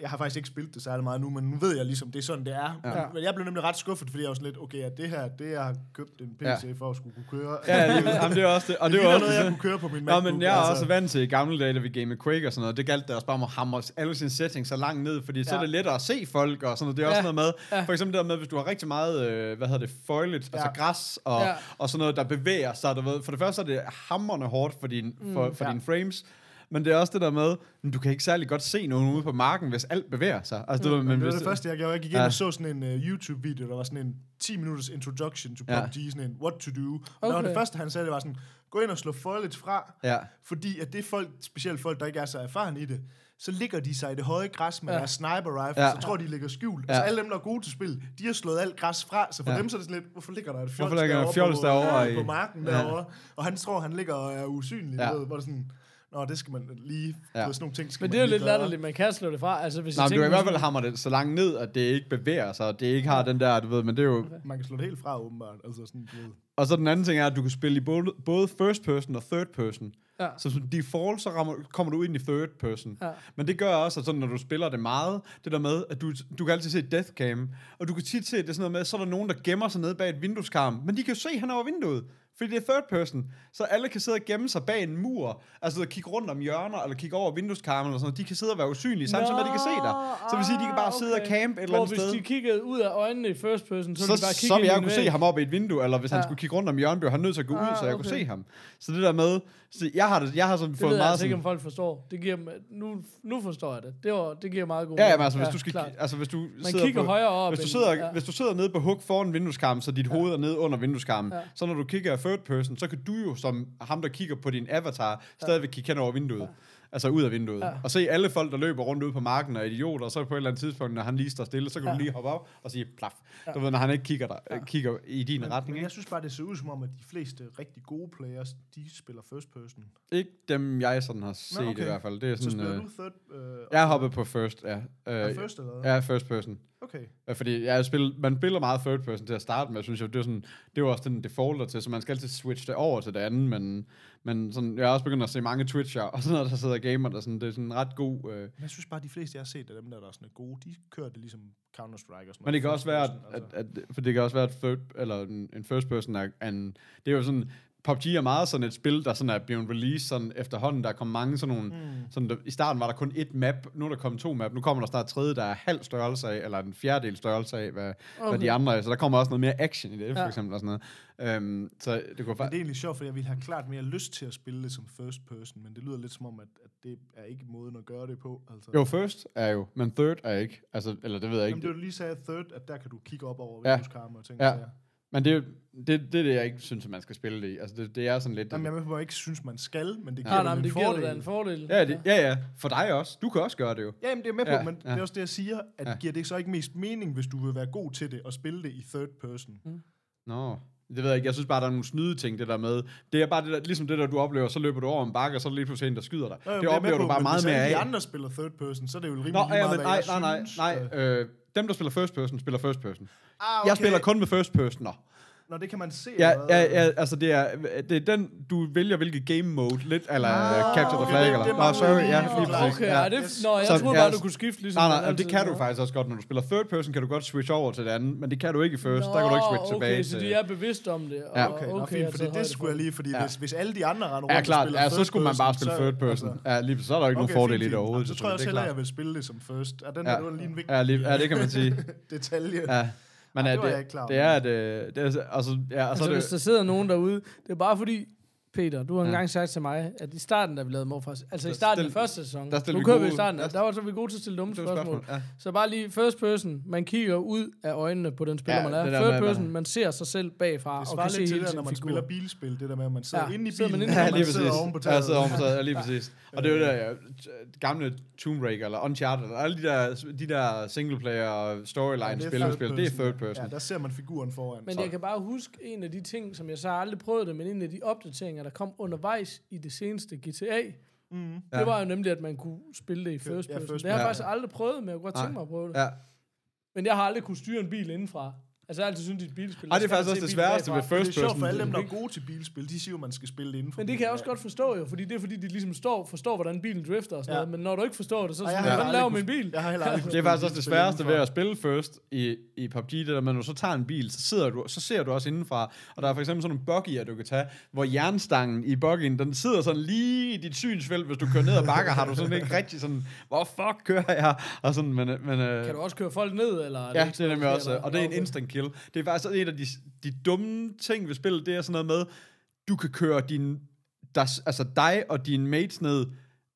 jeg har faktisk ikke spillet det særlig meget nu, men nu ved jeg ligesom, det er sådan, det er.
Ja.
Ja. Men, men jeg blev nemlig ret skuffet, fordi jeg var sådan lidt, okay, at det her, det jeg har købt en PC
Ja.
ja. for at skulle kunne køre.
Ja, lige, jamen, det er også det. Og det,
det
er jo
var
også
noget, jeg
det.
kunne køre på min
Nå,
MacBook. altså.
men jeg er også vant til i gamle dage, da vi gamede Quake og sådan noget, det galt det også bare om at hamre alle sine settings så langt ned, fordi ja. så er
Ja.
det lettere at se folk og sådan noget. Det er også
Ja.
noget med,
Ja.
for eksempel det der med, hvis du har rigtig meget, øh, hvad hedder det, foliage, ja. altså græs og, ja.
Ja.
og sådan noget, der bevæger sig, du ved. For det første er det hammerne hårdt for, din, for, for ja.
Ja.
dine frames, men det er også det der med, men du kan ikke særlig godt se nogen ude på marken, hvis alt bevæger sig. Altså, du, ved, men
Det var
hvis,
det første, jeg gjorde. Jeg gik ind
Ja.
og så sådan en uh, YouTube-video, der var sådan en 10-minutters introduction to
Ja.
PUBG, sådan en what to do. Og okay.
Okay.
det første, han sagde, det var sådan, gå ind og slå foliage fra,
Ja.
fordi at det er folk, specielt folk, der ikke er så erfaren i det, så ligger de sig i det høje græs med
Ja.
ja. deres sniper rifle,
Ja.
ja. så tror de ligger skjult.
Ja.
Ja. Altså alle dem, der er gode til spil, de har slået alt græs fra, så for
Ja.
ja. dem så er det sådan lidt, hvorfor ligger der et fjols
Hvorfor ligger der et
derovre,
fjols
på,
derovre i-
på marken
Ja.
ja. derovre? Og han tror, han ligger og er usynlig,
Ja.
ja. ved, hvor det sådan, Nå, det skal man lige...
Ja.
Ja. Sådan nogle ting skal
Men
man
det er jo
lige
lidt
gøre."
latterligt, man kan slå det fra. Altså, hvis
Nej,
jeg
men du
tænker,
kan i hvert fald hammer det så langt ned, at det ikke bevæger sig, og det ikke har den der, du ved, men det er jo...
Man kan slå det helt fra, åbenbart. Altså sådan, du ved.
Og så den anden ting er, at du kan spille i både, både first person og third person.
Ja.
Så som default, så rammer, kommer du ind i third person.
Ja.
Men det gør også, at sådan, når du spiller det meget, det der med, at du, du kan altid se death cam, og du kan tit se, at det er sådan noget med, så er der nogen, der gemmer sig nede bag et vindueskarm, men de kan jo se hen over vinduet, fordi det er third person. Så alle kan sidde og gemme sig bag en mur, altså at kigge rundt om hjørner, eller kigge over vindueskarmen, eller sådan noget. De kan sidde og være usynlige, samtidig med, at de kan se dig. Så det vil sige, at de kan bare sidde og campe et eller andet
Hvor
sted
hvis de kiggede ud af øjnene i first person, så, ville de bare
så,
kigge
så
ind
vil
i
jeg
en
kunne se
væg.
ham op i et vindue, eller hvis ja. han
Ja.
skulle kigge rundt om hjørnet, blev han nødt til at gå ud,
Ah,
så jeg kunne
okay.
se ham. Så det der med, så jeg har, det- jeg har sådan
Det
fået
ved jeg
meget
altså ikke, om
sådan,
folk forstår. Det giver, dem- nu, nu forstår jeg det. Det, var, det giver meget god
Ja,
mening.
jamen, altså, hvis du skal,
klart.
altså, hvis du
Man
sidder
kigger
på,
højere op.
hvis du,
end-
sidder,
ja.
hvis du sidder nede på hug foran vindueskarmen, så dit hoved er nede under vindueskarmen, ja.
Ja.
så når du kigger af third person, så kan du jo som ham, der kigger på din avatar, stadigvæk kigge hen over vinduet. Ja. Altså ud af vinduet. Ja.
Ja.
Og se alle folk, der løber rundt ude på marken og er idioter, og så på et eller andet tidspunkt, når han lige står stille, så kan ja. du
Ja.
lige hoppe op og sige plaf. Ja. Du ved, når han ikke kigger, dig, ja. kigger i din
Men,
retning.
men
ikke?
jeg synes bare, det ser ud som om, at de fleste rigtig gode players, de spiller first person.
Ikke dem, jeg sådan har set Nå, okay.
okay.
i hvert fald. Det er
Så
sådan,
spiller
øh,
du third, øh,
jeg har hoppet på first, ja. Øh,
ja, first eller hvad?
Ja, first person.
Okay.
Øh, Fordi jeg har spillet, man spiller meget third person til at starte med, synes jeg. Det er, sådan, det er jo også den defaulter til, så man skal altid switche det over til det andet, men, men sådan, jeg har også begyndt at se mange Twitcher, og sådan noget, der sidder og gamer, der sådan, det er sådan en ret god... Øh,
Men jeg synes bare, at de fleste, jeg har set af dem, der, der er sådan gode, de kører det ligesom Counter-Strike og sådan
men det kan også være, at,
First person,
at,
altså.
at, for det kan også være, at third, eller en, en first person er, er en, det er jo sådan, PUBG er meget sådan et spil, der sådan er blevet released sådan efterhånden. Der kom mange sådan nogle...
Hmm.
Mm. Sådan, der, I starten var der kun et map, nu er der kommet to map, nu kommer der snart et tredje, der er halv størrelse af, eller en fjerdedel størrelse af, hvad, okay. hvad
Okay.
de andre er. Så der kommer også noget mere action i det, for
Ja.
eksempel. Og sådan noget. Øhm, så det kunne
Men det
faktisk...
er egentlig sjovt, for jeg ville have klart mere lyst til at spille det som first person, men det lyder lidt som om, at, at det er ikke måden at gøre det på. Altså.
Jo, first er jo, men third er ikke. Altså, eller det ved jeg ikke.
Jamen, det var lige sagde third, at der kan du kigge op over
Ja.
vindueskarmen og tænke
Ja.
ja. sig.
Men det, er jo- det, det er det, jeg ikke synes, at man skal spille det i. Altså, det, det er sådan lidt...
Jamen, jeg er med på, at jeg ikke synes, man skal, men det giver
Nej,
dem
nej, men
en
det giver
fordel.
dig da en fordel.
Ja, det, ja, ja. For dig også. Du kan også gøre det jo.
Ja, jamen, det er jeg med på,
Ja,
ja, men ja.
ja.
det er også det, jeg siger, at
Ja.
ja. giver det så ikke mest mening, hvis du vil være god til det og spille det i third person?
Mm.
Nå, det ved jeg ikke. Jeg synes bare, der er nogle snyde ting, det der med. Det er bare det der, ligesom det der, du oplever, så løber du over en bakke, og så er der lige pludselig en, der skyder dig.
Nå,
det
jeg er med
oplever
på,
du bare
Øh, men
meget
hvis
mere
alle
af.
de andre spiller third person, så er det jo rimelig
Nå,
lige meget,
ja, men,
hvad
nej,
jeg
nej, nej,
synes.
nej.
Øh,
Øh, dem, der spiller first person, spiller first person.
Ah,
Okay. Jeg spiller kun med first personer.
Nå, det kan man se.
Ja,
eller hvad?
ja, ja, altså det er, det er den, du vælger, hvilket game mode, lidt, eller ah, Capture the
okay,
Flag,
det-
eller...
det
Nå,
mangler
sorry,
lige
ja,
at
lige
forklare.
præcis.
Okay,
ja.
ja. Det, nå, jeg
Så-
troede
ja,
bare, du kunne skifte ligesom...
Nej, nej,
man
jamen, det
altid
kan du
gør.
faktisk også godt. Når du spiller third person, kan du godt switch over til det andet, men det kan du ikke i first. Nå, der kan du ikke switch
Nå,
tilbage
okay, så
til...
de er bevidst om det. og- altså,
Ja.
Okay, okay, nå, fint,
jeg
for
tager
det,
højde
det skulle jeg lige, fordi
Ja.
ja. hvis, hvis alle de andre render rundt
Ja,
og
klart.
spiller
Ja, så
third
skulle man bare
person,
spille
så-
third person.
altså,
ja, lige, så er der jo ikke okay, nogen
okay,
fordel
fint,
i det
fint.
overhovedet.
Jamen, Så tror jeg
selvfølgelig, det
også
er
hellere,
klart.
jeg vil spille det som first. Og den
Ja.
her, det var lige en vigtig
Ja, lige, ja, det kan man sige.
detalje.
Ja. Men
Ej,
ja,
det var
det,
jeg ikke klar
det
over.
er, at... øh, Det er, altså, ja, og så
Altså,
er det,
hvis der sidder nogen derude, det er bare fordi, Peter, du har
Ja.
engang sagt til mig, at i starten, da vi lavede Morfars, altså
Der
i starten
stillede-
af første sæson,
der stillede
nu
vi
kører vi i
gode-
starten,
der-
der, der var så vi gode til at stille dumme
det var et
spørgsmål.
Ja.
Så bare lige first person, man kigger ud af øjnene på den spiller,
Ja,
ja, man er.
det der
Third
med, man-
person, man ser sig selv bagfra
Det
og
svarer
kan se
lidt til
hele
det,
sin
når man
figur.
spiller bilspil, det der med, at man sidder
Ja,
inde i
sidder man
bilen,
inde i
og
bilen,
Ja,
man
lige præcis.
sidder oven på
Ja, sidder
taget.
oven på taget, ja, lige præcis. Og det er jo der ja, t- gamle Tomb Raider eller Uncharted, og alle de der, de der singleplayer storyline spil, man spiller, det er third person.
Ja, der ser man figuren foran.
Men
Så-
jeg kan bare huske en af de ting, som jeg så aldrig prøvede det, men en af de opdateringer, der kom undervejs i det seneste GTA,
Mhm.
ja. det var jo nemlig, at man kunne spille det i
Ja,
first person.
first
det har jeg
person.
faktisk aldrig prøvet, men jeg kunne godt
Nej.
tænke mig at prøve det.
Ja.
Men jeg har aldrig kunne styre en bil indenfra. Altså, jeg har altid syntes, at et bilspil...
Ej, det
der
er
skal man
faktisk
se
også det
bilen
sværeste ved
bagfra.
Men
first
Det er sjovt
person.
for alle dem, der er gode til bilspil, de siger jo, man skal spille det inden for
Men det kan jeg også godt forstå jo, fordi det er fordi, de ligesom står, forstår, hvordan bilen drifter og sådan ja.
Ja.
noget. Men når du ikke forstår det, så er
Og
det
jeg
sådan,
har
hvordan laver
aldrig kunne-
min bil?
Jeg har heller aldrig
Det er faktisk også det sværeste ved at
os.
spille first i, i PUBG, det der med, når du så tager en bil, så, sidder du, så ser du også indenfra. Og der er for eksempel sådan nogle buggy'er, du kan tage, hvor jernstangen i buggyen, den sidder sådan lige i dit synsfelt. Hvis du kører ned ad bakker, har du sådan ikke rigtig sådan, hvor fuck kører jeg? Og sådan, men, øh, men, øh,
Kan du også køre folk ned, eller? er
Ja,
ikke
det er nemlig
okay,
også,
eller?
og det er en
Okay.
instant kill. Det er faktisk en af de, de dumme ting ved spillet, det er sådan noget med, du kan køre din, der, altså dig og din mates ned,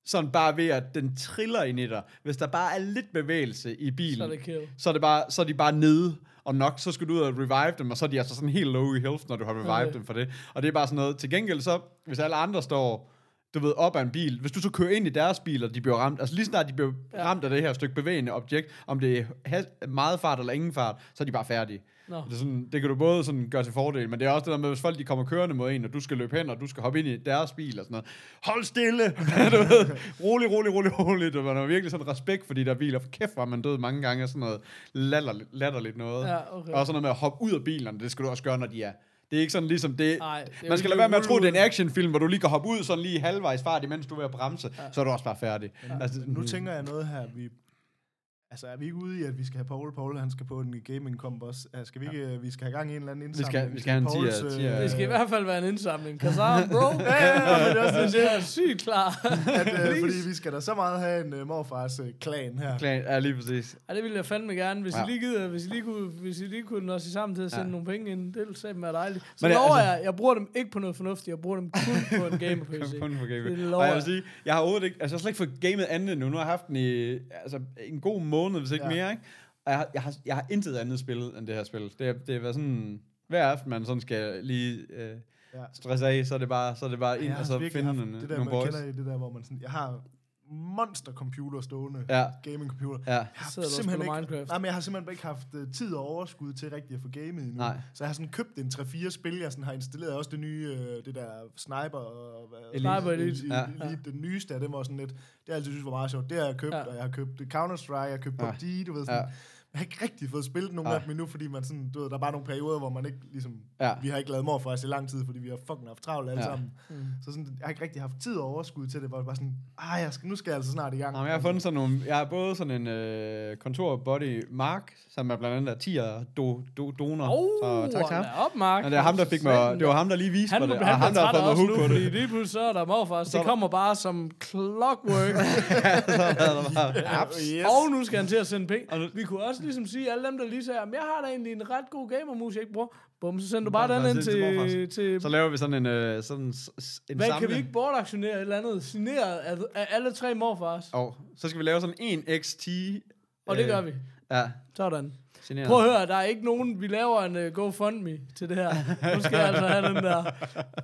sådan bare ved, at den triller ind i dig. Hvis der bare er lidt bevægelse i bilen,
Så er det kill.
så er, det bare, så er de bare nede, og nok så skal du ud og revive dem, og så er de altså sådan helt low i health, når du har revived
Okay.
dem for det. Og det er bare sådan noget. Til gengæld så, hvis alle andre står, du ved, op ad en bil, hvis du så kører ind i deres bil, og de bliver ramt, altså lige snart de bliver ja. ramt af det her stykke bevægende objekt, om det er has- meget fart eller ingen fart, så er de bare færdige.
Nå.
Det, er sådan, det kan du både sådan gøre til fordel, men det er også det der med, hvis folk de kommer kørende mod en, og du skal løbe hen, og du skal hoppe ind i deres bil og sådan noget. Hold stille! du ved, rolig, rolig, rolig, rolig. Og man har virkelig sådan respekt for de der biler. For kæft, var man død mange gange af sådan noget latterligt, latterligt noget.
Ja, okay.
Og sådan noget med at hoppe ud af bilerne, det skal du også gøre, når de er. Det er ikke sådan ligesom det...
Nej, det er jo
man
ikke
skal lade være med at tro,
rulle
det er en actionfilm, hvor du lige kan hoppe ud sådan lige i halvvejs fart, imens du er ved at bremse. Ja. Så er du også bare færdig. Ja. Altså,
Nu tænker jeg noget her, vi... Altså, er vi ikke ude i, at vi skal have Paul? Paul, han skal på en gaming komp også. Altså, Skal vi ikke... øh, Vi skal have gang i en eller anden
skal-
indsamling.
vi skal have en
til
tier-
Pauls, øh,
tier-
Det skal i hvert fald være en indsamling. Kazam, bro.
Ja, ja, ja, men det er også
Men
det,
det er sygt klar.
at, øh, fordi vi skal da så meget have en øh, morfars øh, klan her.
Klan, ja, lige præcis.
Ja, det ville jeg fandme gerne. Hvis
Ja.
I lige gider, hvis I lige kunne, hvis I lige kunne nå sig sammen til at sende
Ja.
nogle penge ind, det ville satme være dejligt. Så
Men ja,
lover
altså-
jeg, jeg bruger dem ikke på noget fornuftigt, jeg bruger dem kun på en gamer PC.
Kun for gamet.
Det
Og
lover
jeg vil
jeg.
sige, jeg har overhovedet ikke, altså jeg har slet ikke fået gamet andet endnu. Nu har jeg haft den i altså, en god måned, hvis ikke ja.
Ja.
mere, ikke? Og jeg, har- jeg, har, jeg har intet andet spillet end det her spil. Det, er- det har været sådan, hver aften man sådan skal lige øh,
Ja.
stresse af, så er det bare, så er det bare ind,
Jeg har
og så
virkelig
finde
haft
nogle,
det der,
nogle
man
boys.
kender i det der, hvor man sådan, jeg har monster computer stående,
Ja.
gaming computer.
Ja.
Jeg har
Sidder du og
simpelthen
spiller
ikke,
Minecraft?
Nej, men jeg har simpelthen bare ikke haft uh, tid og overskud til rigtig at få gamet endnu.
Nej.
Så jeg har sådan købt en 3-4 spil, jeg sådan har installeret også det nye, uh, det der Sniper og... hvad-
Elite.
Sniper Elite.
Elite,
Ja.
Elite, Den nyeste af dem var sådan lidt, det har jeg altid synes var meget sjovt. Det har jeg købt,
Ja.
ja. og jeg har købt Counter-Strike, jeg har købt
Ja.
PUBG, du ved
Ja.
sådan. Jeg har ikke rigtig fået spillet nogen
Nej.
af dem endnu, fordi man sådan, du ved, der er bare nogle perioder, hvor man ikke ligesom...
Ja.
Vi har ikke lavet mor for os i lang tid, fordi vi har fucking haft travlt alle
Ja.
ja. sammen.
Mm.
Så sådan, jeg har ikke rigtig haft tid og overskud til det, hvor det var sådan, ah, jeg skal, nu skal jeg altså snart i gang.
Nå, men jeg har fundet sådan nogle, jeg har både sådan en øh, kontorbody Mark, som er blandt andet er 10'er do, do, donor,
Oh,
så tak til ham.
Op, Mark.
Og det er ham, der fik mig, det var ham, der lige viste
han,
mig
må-
det,
han, han,
der
han
har
træt
fået
også
mig
nu,
hook på
fordi
det.
lige pludselig så er der morfar.
Så er
Det
der-
kommer bare som clockwork.
så er der bare,
Yes.
apps.
yes. Og nu skal han til at sende
Og nu-
penge. Vi kunne også ligesom sige, alle dem, der lige sagde, "Jamen, jeg har da egentlig en ret god gamermus, jeg ikke bruger. Bum, så sender du bare
Bare
den ind
send til
til...
morfars.
til
Så laver vi sådan en, øh, sådan s- s- en
hvad, kan
samling.
vi ikke bortaktionere et eller andet signeret af, af alle tre morfars?
Og øh, så skal vi lave sådan en XT.
Og det gør vi.
Ja,
Sådan.
generet.
Prøv at høre, der er ikke nogen, vi laver en uh, GoFundMe til det her. Nu skal jeg altså have den der.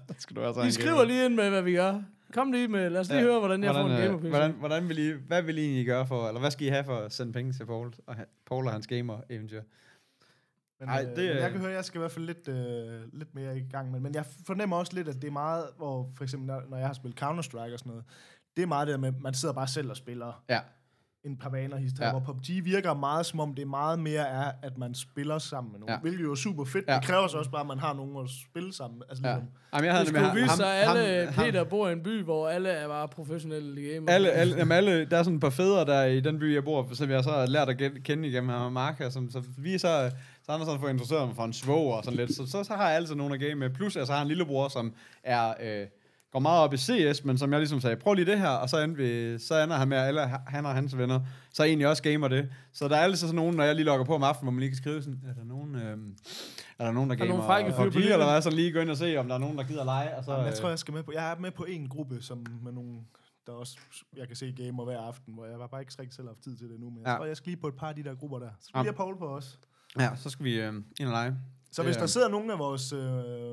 Det skal du altså
Vi
have en
skriver
gamer.
lige ind med, hvad vi gør. Kom lige med, lad os lige
Ja.
høre, hvordan jeg får en
øh,
gamer
hvordan, hvordan vil I, hvad vil I egentlig gøre for, eller hvad skal I have for at sende penge til Paul og, ha- Paul og hans gamer-eventyr?
Men,
Ej,
Ej,
det
det, øh, men
er-
jeg kan høre, at jeg skal i hvert fald lidt, øh, lidt mere i gang med det. Men jeg fornemmer også lidt, at det er meget, hvor for eksempel, når, når jeg har spillet Counter-Strike og sådan noget, det er meget det der med, at man sidder bare selv og spiller
Ja,
en par baner historie,
Ja.
ja. hvor PUBG virker meget som om, det meget mere er, at man spiller sammen med nogen.
Ja.
Ja. Hvilket jo er super fedt.
Ja.
Ja. Det kræver så også bare, at man har nogen at spille sammen med. Altså,
ja.
ligesom,
Jamen, jeg havde
Det skulle
ham-
vise
ham-
sig, at alle
ham- ham-
Peter bor i en by, hvor alle er bare professionelle gamer.
Alle, alle, jamen alle, der er sådan et par fædre der i den by, jeg bor, som jeg så har lært at gen- kende igennem ham og Mark her, som så vi så, så han har sådan fået interesseret mig for en svoger og sådan lidt, så, så, så har jeg altid nogen at game med, plus jeg så har en lillebror, som er, øh, går meget op i CS, men som jeg ligesom sagde, prøv lige det her, og så ender, vi, så ender han med, at alle han og hans venner, så egentlig også gamer det, så der er altid sådan nogen, når jeg lige logger på om aftenen, hvor man lige kan skrive sådan, er der nogen, øh, er der nogen, der
Der er
gamer,
nogle frække fyre
og,
på
og de,
linjen.
eller hvad, så lige gå ind og se, om der er nogen, der gider lege, og så,
Jamen, jeg
øh,
tror, jeg skal med på. Jeg er med på en gruppe, som med nogle, der også, jeg kan se gamer hver aften, hvor jeg bare ikke rigtig selv har haft tid til det nu, men jeg
Ja.
tror, jeg skal lige på et par af de der grupper der. Så
Ja.
bliver ja. Paul på os.
ja, så skal vi øh, ind og lege.
Så
Det
hvis
er-
der sidder nogen af vores øh,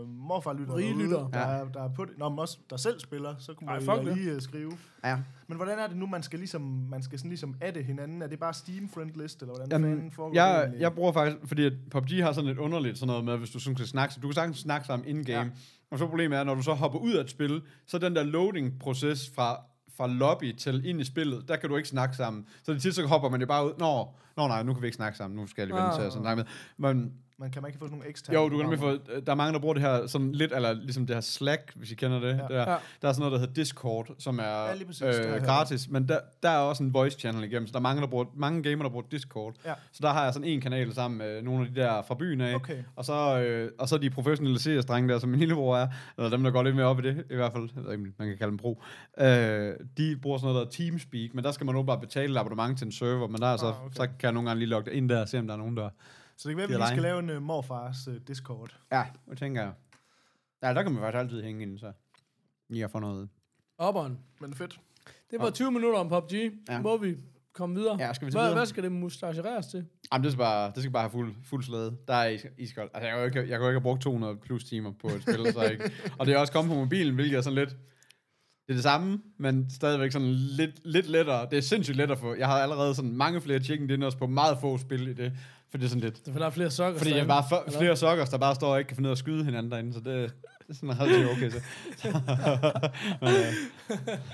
morfarlyttere
Rige
derude,
lyttere.
der,
Ja.
er- der er på det, Nå, men også der selv spiller, så kunne
Ej,
man
fuck
jo
det.
lige øh, skrive.
Ja.
Men hvordan er det nu, man skal ligesom, man skal sådan ligesom adde hinanden? Er det bare Steam friend list, eller hvordan
Jamen,
fanden foregår det
jeg,
egentlig?
jeg bruger faktisk, fordi at PUBG har sådan lidt underligt sådan noget med, hvis du sådan skal snakke, du kan sagtens snakke sammen in-game, ja.
Ja.
og så problemet er, når du så hopper ud af et spil, så den der loading-proces fra, fra lobby til ind i spillet, der kan du ikke snakke sammen. Så det tit, så hopper man jo bare ud, nå, nå nej, nu kan vi ikke snakke sammen, nu skal jeg lige vente
Ah.
til at snakke med. Men
man kan man ikke få sådan nogle eksterne
jo, du kan nemlig
programmer?
få, der er mange, der bruger det her sådan lidt, eller ligesom det her Slack, hvis I kender det. Ja. Der,
Ja.
der er sådan noget, der hedder Discord, som er
Ja, lige præcis, det har
øh,
jeg hørt
gratis, men der, der er også en voice channel igennem, så der er mange, der bruger, mange gamer, der bruger Discord.
Ja.
Så der har jeg sådan en kanal sammen med nogle af de der fra byen af,
Okay.
og, så, øh, og så de professionelle CS-drenge der, som min lillebror er, eller dem, der går lidt mere op i det, i hvert fald, jeg ved ikke, man kan kalde dem pro, øh, de bruger sådan noget, der hedder Teamspeak, men der skal man åbenbart betale et abonnement til en server, men der er så, ah,
Ah,
okay.
okay.
så kan jeg nogle gange lige logge ind der og se, om der er nogen, der...
Så det kan være, at vi
Det er
lige
dig.
skal lave en uh, morfars uh, Discord.
Ja, det tænker jeg. Ja, der kan man faktisk altid hænge ind, så lige at få noget.
Opperen.
Men fedt.
Det var 20 minutter om PUBG.
Ja.
Ja. Må vi komme videre?
Ja, skal vi til
hvad,
videre?
hvad skal det mustachereres til?
Jamen, det skal bare, det skal bare have fuld, fuld slæde. Der er is- iskold. Altså, jeg kan jo ikke, jeg kan jo ikke have brugt 200 plus timer på et spil, så ikke. Og det er også kommet på mobilen, hvilket er sådan lidt... Det er det samme, men stadigvæk sådan lidt, lidt lettere. Det er sindssygt let at få. Jeg har allerede sådan mange flere chicken dinners på meget få spil i det. For det er sådan lidt...
Det er, for der er flere sokker.
Fordi jeg
derinde.
bare for, flere sokkers, der bare står og ikke kan finde ud af at skyde hinanden derinde, så det, det er sådan relativt okay. Så. men øh,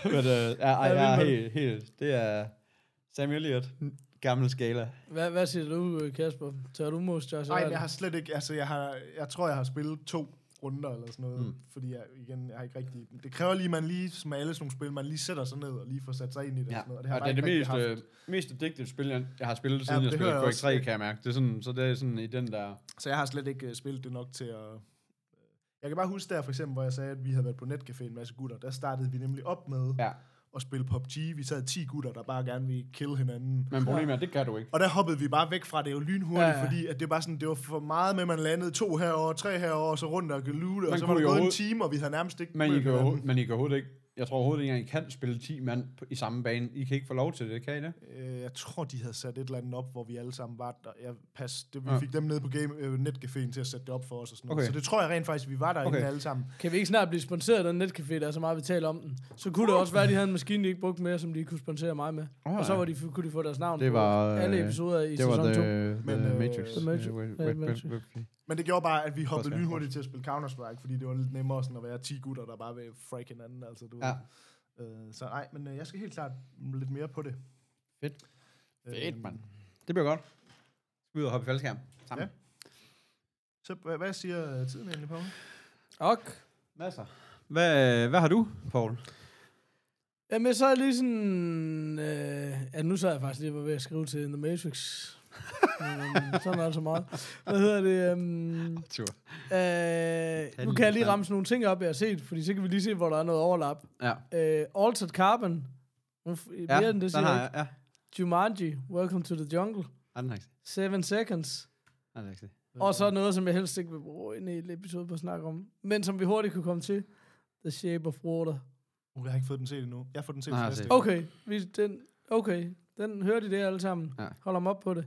men øh, ja, ej, jeg er helt, helt, det er Sam Elliott, gammel skala.
Hvad, hvad siger du, øh, Kasper? Tør du
Nej,
mustachereres?
men jeg har slet ikke, altså jeg, har, jeg tror, jeg har spillet to runder eller sådan noget, mm. fordi jeg, igen, jeg har ikke rigtig, det kræver lige, at man lige, som med alle sådan nogle spil, man lige sætter sig ned og lige får sat sig ind i det.
Ja,
og, sådan noget,
og
har
det,
jeg
og det er det
bare
mest,
ikke rigtig
øh,
haft.
mest addictive spil, jeg, jeg har spillet, siden ja,
det
jeg
hører
spillede
jeg
Quake
også.
3, kan jeg mærke. Det er sådan, så det er sådan i den der...
Så jeg har slet ikke øh, spillet det nok til at... øh, Jeg kan bare huske der for eksempel, hvor jeg sagde, at vi havde været på netcafé en masse gutter. Der startede vi nemlig op med
Ja.
at spille PUBG. Vi sad 10 gutter, der bare gerne ville kill hinanden.
Men problemet er, det kan du ikke.
Og der hoppede vi bare væk fra det jo lynhurtigt,
Ja,
ja,
ja.
ja. fordi at det, var sådan, det var for meget med, at man landede to herover, tre herover, og så rundt og lute,
Man
og så
kunne
var det
jo
gået en
overhovedet-
time, og vi havde nærmest ikke
Men I,
mødt
kan
hinanden.
overhovedet, men I kan overhovedet ikke... Jeg tror overhovedet ikke, engang, I kan spille 10 mand på- i samme bane. I kan ikke få lov til det, kan I det?
Øh, jeg tror, de havde sat et eller andet op, hvor vi alle sammen var der. Jeg, pas, det, vi
Ja.
ja. fik dem ned på game, øh, netcaféen til at sætte det op for os. Og sådan
Okay.
noget. Så det tror jeg rent faktisk, vi var derinde
Okay.
alle sammen.
Kan vi ikke snart blive sponsoreret af den netcafé, der er så meget, vi taler om den? Så kunne det også være, at de havde en maskine, de ikke brugte mere, som de kunne sponsere mig med.
Åh,
og så
ja.
var de, kunne de få deres navn
Det
på
var, øh,
alle episoder i
Det var
sæson 2.
The,
Men,
the
øh,
Matrix.
The
Matrix.
Øh, wait-
Ja,
wait-
Matrix.
wait- wait-
Men det gjorde bare, at vi
Også,
hoppede
ja.
lynhurtigt til at spille Counter-Strike, fordi det var lidt nemmere sådan at være 10 gutter, der bare vil frag hinanden. Altså, du
Ja.
ved. øh, så nej, men øh, jeg skal helt klart lidt mere på det.
Fedt.
Øh,
Fedt, mand. Det bliver godt. ud og hoppe i faldskærm. Sammen.
Ja. Så hvad, hvad siger øh, tiden egentlig på?
Ok.
Masser. Hvad, hvad har du, Paul?
Jamen, så er jeg lige sådan... Øh, ja, nu sad jeg faktisk lige og var ved at skrive til In The Matrix. um, sådan er det så meget. Hvad hedder det? Um,
Tur.
øh, nu kan jeg lige ramse nogle ting op, jeg har set, fordi så kan vi lige se, hvor der er noget overlap.
Ja.
Øh, Altered Carbon. Nu f- Mere ja, end det
den
siger
har
jeg ikke.
jeg. Ja.
Jumanji, Welcome to the Jungle,
Ej, den har jeg ikke set.
7 Seconds.
Ej, den har jeg ikke set.
Og så noget, som jeg helst ikke vil bruge en hel episode på at snakke om, men som vi hurtigt kunne komme til. The Shape of Water.
Uh, jeg har ikke fået den set endnu. Jeg får den set
Nej,
til
jeg
næste
ser
uge.
Okay, vi, den, okay, den hørte I det alle sammen.
Ja.
Hold dem op på det.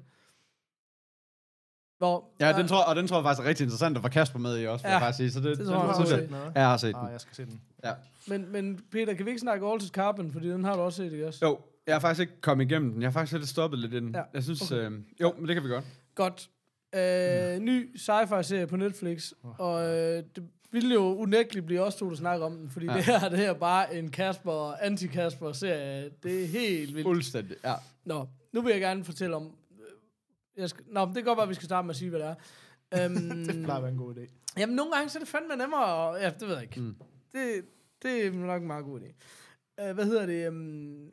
Nå, ah,
Ja, den tror, og den tror jeg faktisk er rigtig interessant, og var Kasper med i også, vil
Ja,
ja, jeg faktisk sige. Så det,
det tror jeg
den,
også.
synes
Okay.
Noget?
Ja, jeg har set den.
Ah, jeg skal se den.
Ja.
men, men Peter, kan vi ikke snakke Altered Carbon, fordi den har du også set, ikke også?
Jo, jeg har faktisk ikke kommet igennem den. Jeg har faktisk lidt stoppet lidt i den.
Ja,
Ja. Jeg synes, okay. øh, jo, men det kan vi godt.
Godt. Øh, ny sci-fi-serie på Netflix, og øh, det ville jo unægteligt blive os to, der snakker om den, fordi ja.
Ja.
det her det her er bare en Kasper og anti-Kasper-serie. Det er helt vildt.
Fuldstændig, ja.
Nå, nu vil jeg gerne fortælle om... øh, Jeg skal, nå, men det kan godt være, at vi skal starte med at sige, hvad det er. Øhm,
Det plejer at være en god idé.
jamen, nogle gange så er det fandme nemmere, og, ja, det ved jeg ikke. Mm. Det, det er nok en meget god idé. Uh, hvad hedder det? Um,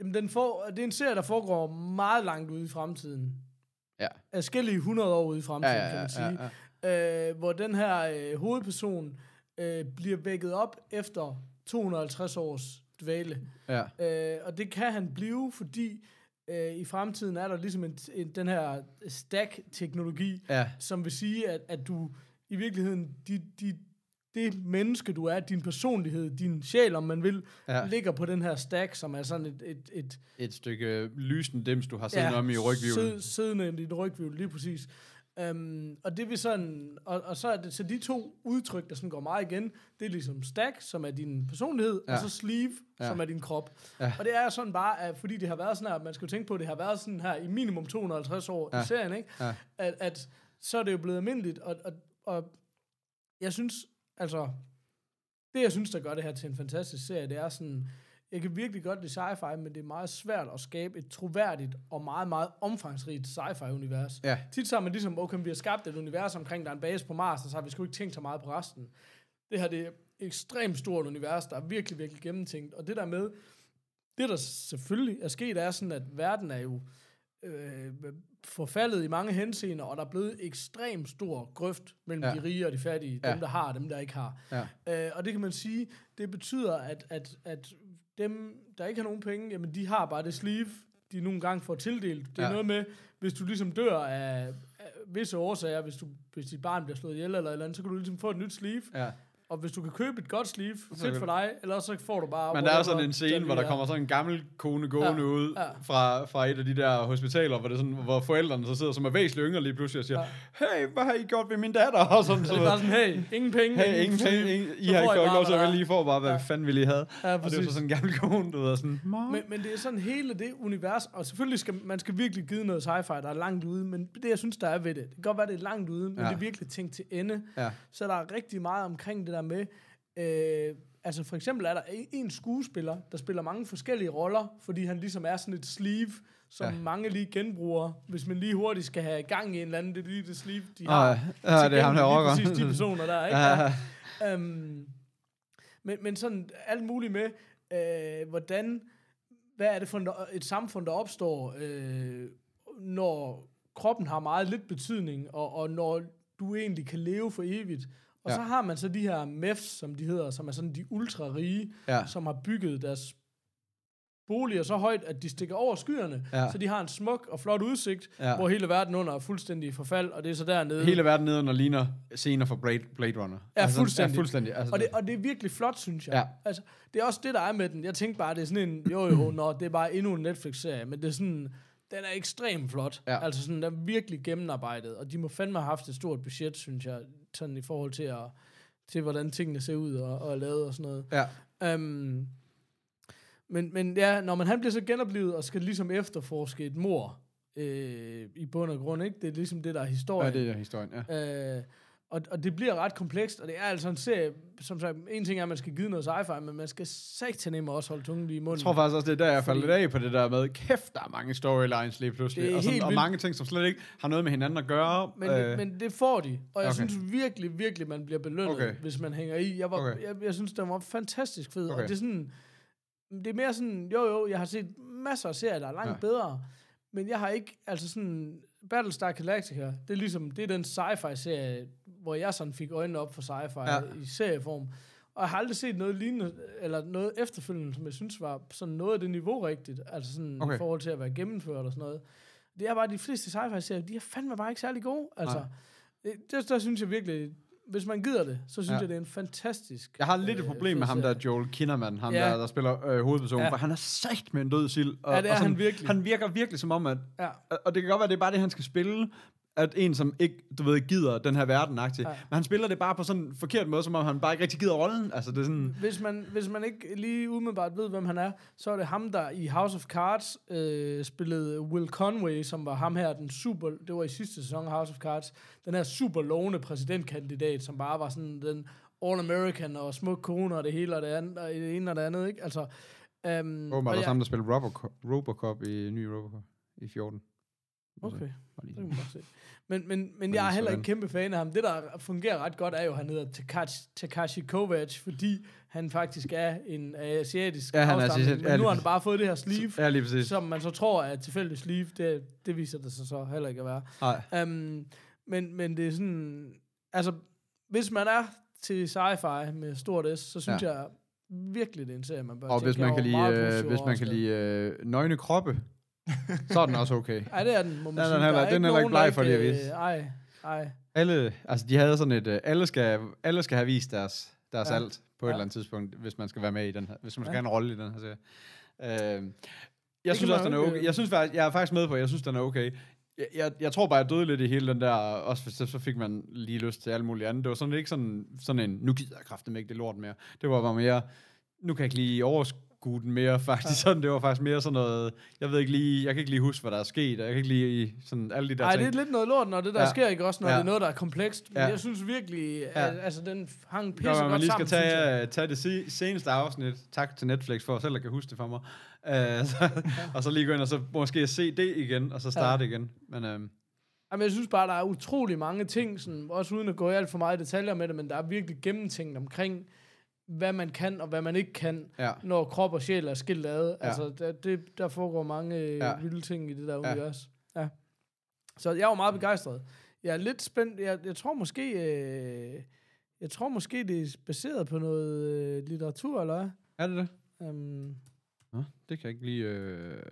jamen, den for, det er en serie, der foregår meget langt ude i fremtiden.
Ja.
Forskellige 100 år ude i
Ja,
fremtiden,
ja,
kan
ja,
man sige
ja, ja.
øh, hvor den her øh, hovedperson øh, bliver vækket op efter 250 års dvæle.
Ja.
Øh, og det kan han blive, fordi øh, i fremtiden er der ligesom en, en, den her øh, stack-teknologi,
Ja.
som vil sige, at, at du i virkeligheden, de, de, det menneske du er, din personlighed, din sjæl, om man vil, ja.
Ja.
ligger på den her stack, som er sådan et, et, et,
Et stykke øh, lysende dims, du har siddende ja, om i
Sid,
ryghjulet.
siddende i din ryghvivl, lige præcis. Um, og det vil sådan, og, og så er det, så de to udtryk, der sådan går meget igen, det er ligesom stack, som er din personlighed, ja.
Ja.
og så sleeve, ja.
Ja.
som er din krop. Ja.
Ja.
Og det er sådan bare, at, fordi det har været sådan her, at man skal jo tænke på, at det har været sådan her i minimum 250 år ja. i
Ja.
serien, ikke?
Ja.
At, at så er det jo blevet almindeligt, og, og, og jeg synes, altså, det jeg synes, der gør det her til en fantastisk serie, det er sådan, jeg kan virkelig godt lide sci-fi, men det er meget svært at skabe et troværdigt og meget, meget omfangsrigt sci-fi-univers.
Ja.
Tit så er man ligesom, okay, vi har skabt et univers omkring, der er en base på Mars, og så har vi sgu ikke tænkt så meget på resten. Det her, det er et ekstremt stort univers, der er virkelig, virkelig gennemtænkt. Og det der med, det der selvfølgelig er sket, er sådan, at verden er jo øh, forfaldet i mange henseender, og der er blevet ekstremt stor grøft mellem ja.
Ja.
de rige og de fattige, dem
Ja.
der har og dem der ikke har.
Ja.
Øh, og det kan man sige, det betyder, at, at, at dem, der ikke har nogen penge, jamen de har bare det sleeve, de nogle gange får tildelt. Det er ja.
Ja.
noget med, hvis du ligesom dør af, af visse årsager, hvis, du, hvis dit barn bliver slået ihjel eller et eller andet, så kan du ligesom få et nyt sleeve. Ja.
Ja.
Og hvis du kan købe et godt sleeve, fedt
kan-
for dig, eller så får du bare...
Men der er
whatever,
sådan en scene, hvor der
er.
kommer sådan en gammel kone gående
Ja,
ja, ud
ja.
fra, fra et af de der hospitaler, hvor, det er sådan, hvor forældrene så sidder som er væsentligt yngre lige pludselig og siger,
Ja.
ja. hey, hvad har I gjort ved min datter? Og sådan,
Så det er bare sådan, hey, ingen penge,
hey, ingen penge, ingen, I
Så
har
får
ikke
I
fået
bare,
lov til
hvad der
at vælge,
er."
lige får bare, hvad fanden ville I have?
Ja,
og det er
præcis.
så sådan en gammel kone, du ved, og sådan, "Mor."
Men, men det er sådan hele det univers, og selvfølgelig skal man skal virkelig give noget sci-fi, der er langt ude, men det jeg synes, der er ved det, det kan godt være, det er langt ude, men ja.
Ja.
det er virkelig tænkt til ende.
Ja.
Så der er rigtig meget omkring det der med, øh, altså for eksempel er der en- en skuespiller, der spiller mange forskellige roller, fordi han ligesom er sådan et sleeve, som ja.
Ja.
mange lige genbruger, hvis man lige hurtigt skal have gang i en eller anden, det er lige det sleeve, de har.
Ah, ja, ja, det er ham
tilgængeligt,
der rocker.
Lige præcis de personer der, ikke?
Ja.
Ja. Øhm, men, men sådan alt muligt med, øh, hvordan, hvad er det for en- et samfund, der opstår, øh, når kroppen har meget lidt betydning, og, og når du egentlig kan leve for evigt. Og ja.
Ja.
så har man så de her MEFs, som de hedder, som er sådan de ultrarige,
Ja.
som har bygget deres boliger så højt, at de stikker over skyerne,
Ja.
så de har en smuk og flot udsigt,
Ja.
hvor hele verden under er fuldstændig i forfald, og det er så dernede.
Hele verden nedenunder ligner scener fra Blade, Blade Runner.
Ja,
sådan-
fuldstændig.
Ja, fuldstændig. Altså,
Og det, og det er virkelig flot, synes jeg.
Ja.
Altså, det er også det, der er med den. Jeg tænkte bare, det er sådan en, jo jo, nå, det er bare endnu en Netflix-serie, men det er sådan, den er ekstremt flot.
Ja.
Altså sådan, den er virkelig gennemarbejdet, og de må fandme have haft et stort budget, synes jeg, sådan i forhold til at, til hvordan tingene ser ud og, og er lavet og sådan noget.
ja.
Um, men, men ja, når man han bliver så genoplevet og skal ligesom efterforske et mor øh, i bund og grund, ikke? Det er ligesom det, der er
ja,
historien.
det er historien, ja.
Øh, og, Og, og det bliver ret komplekst, og det er altså en serie, som sagt, en ting er, at man skal give noget sci-fi, men man skal satanemme også holde tungen lige i munden.
Jeg tror faktisk også, det er der, jeg faldt
Fordi-
lidt af på det der med, kæft, der er mange storylines lige pludselig,
Det er
og, sådan,
helt
og
vildt.
mange ting, som slet ikke har noget med hinanden at gøre.
Men, øh. men det får de, og jeg
Okay.
okay. synes virkelig, virkelig, man bliver belønnet,
Okay.
okay. hvis man hænger i. Jeg, var,
Okay.
okay. jeg, jeg synes, den var fantastisk fed, okay.
Okay.
og det er sådan, det er mere sådan, jo jo, jeg har set masser af serier, der er langt
Ja.
ja. bedre, men jeg har ikke, altså sådan, Battlestar Galactica, det er ligesom, det er den sci-fi-serie, hvor jeg sådan fik øjnene op for sci-fi
Ja.
ja. i serieform, og jeg har aldrig set noget lignende, eller noget efterfølgende, som jeg synes var sådan noget af det niveau rigtigt, altså sådan
Okay.
okay. i forhold til at være gennemført og sådan noget. Det er bare, de fleste sci-fi-serier, de er fandme bare ikke særlig gode. Altså, det, der, der synes jeg virkelig, hvis man gider det, så synes
Ja.
ja. jeg, det er en fantastisk...
Jeg har lidt et
øh,
problem
fed
med ham der,
serie.
Joel Kinnaman, ham
Ja.
der, der spiller øh, hovedpersonen,
Ja.
for han er sagt med en død sild. Og,
Ja, det er
og
han virkelig.
Han virker virkelig som om, at,
Ja.
og- og det kan godt være, det er bare det, han skal spille, at en, som ikke, du ved, gider den her verden ja. men han spiller det bare på sådan en forkert måde, som om han bare ikke rigtig gider rollen. Altså, det er sådan,
Hvis man, hvis man ikke lige umiddelbart ved, hvem han er, så er det ham, der i House of Cards øh, spillede Will Conway, som var ham her, den super, det var i sidste sæson af House of Cards, den her super lovende præsidentkandidat, som bare var sådan den all-American og smuk kone og det hele og det, andet, og det ene og det andet, ikke? Altså, øhm,
åbenbart
og
også
jeg-
ham, der spiller Robocop, Robocop i ny Robocop i 14.
Okay.
Bare lige-
Det kan man godt se. Men, men, men
lige
jeg er heller
sådan.
ikke kæmpe fan af ham. Det, der fungerer ret godt, er jo, at han hedder Takashi, Takashi Kovacs, fordi han faktisk er en asiatisk
Ja, han er
afstamning,
asiat- ja,
Men nu
lige
har han bare fået det her sleeve,
Ja, lige præcis.
som man så tror er et tilfældigt sleeve. Det, det viser det sig så heller ikke at være.
Nej.
Um, men, men det er sådan... Altså, hvis man er til sci-fi med stort S, så synes
Ja.
ja. jeg virkelig, det er en serie, man bør
Og
tænke
hvis man kan
over.
lide,
Meget
øh,
positive
hvis man kan
overraskelser.
lide øh, nøgne kroppe, så er den også okay.
Ej, det er den, må man
Den er
sige.
heller-
Der
den er heller
nogen,
ikke
der
bleg for lige at
øh,
vise.
Ej, ej.
Alle, altså de havde sådan et, øh, alle skal, alle skal have vist deres, deres ja.
Ja.
alt på ja. et
Ja.
eller andet tidspunkt, hvis man skal være med i den her, hvis man skal
Ja.
ja. have en rolle i den her serie. Øh, jeg
kan
synes
man
også, den er
jo ikke,
okay.
øh,
Jeg, synes faktisk, jeg er faktisk med på, at jeg synes, den er okay. Jeg, jeg, jeg tror bare, jeg døde lidt i hele den der, også for, så, så fik man lige lyst til alt muligt andet. Det var sådan ikke sådan, sådan en, nu gider jeg kraftedeme ikke det lort mere. Det var bare mere, nu kan jeg ikke lige overskue den mere faktisk. Ja. Sådan, det var faktisk mere sådan noget, jeg ved ikke lige, jeg kan ikke lige huske, hvad der er sket, og jeg kan ikke lige, sådan alle de der
Ej,
ting.
det er lidt noget lort, når det der
Ja.
ja. sker, ikke også, når
Ja.
ja. det er noget, der er komplekst. Men
Ja.
ja. jeg synes virkelig,
Ja.
at altså, den hang pisse
Nå, men
godt
man lige skal
sammen, synes jeg.
tage, øh, tage det si- seneste afsnit. Tak til Netflix for at selv at kan huske det for mig. Øh, så, og så lige gå ind og så måske se det igen, og så starte ja. igen. Men øhm,
Jamen, jeg synes bare, der er utrolig mange ting, sådan, også uden at gå i alt for meget detaljer med det, men der er virkelig gennemtænkt omkring, hvad man kan og hvad man ikke kan,
ja,
når krop og sjæl er skilt ad.
Ja.
Ja. Altså, der, det, der foregår mange øh,
Ja.
ja. vilde ting i det der
Ja.
univers. Ja. Så jeg var meget begejstret. Jeg er lidt spændt. Jeg, jeg tror måske... Øh, jeg tror måske, det er baseret på noget øh, litteratur, eller hvad?
er det det?
Um,
Nå, det kan jeg ikke lige... Øh,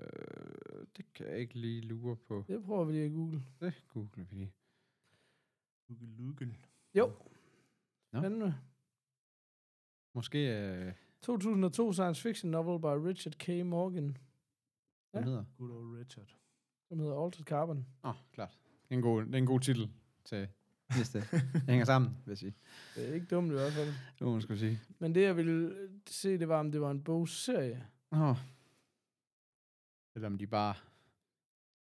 det kan jeg ikke lige lure på.
det prøver vi lige at google.
Det googler vi lige.
Jo.
Nå.
Nå.
Måske... Øh,
2002 science fiction novel by Richard K. Morgan,
hvad
Ja.
hedder?
Good old Richard.
som hedder Altered Carbon.
Åh, oh, klart. Det er, en god, det er en god titel til næste. det hænger sammen, vil jeg sige.
Det er ikke dumt i hvert fald.
Det må man skulle sige.
Men det, jeg ville øh, se, det var, om det var en bogserie.
Oh. Eller om de bare...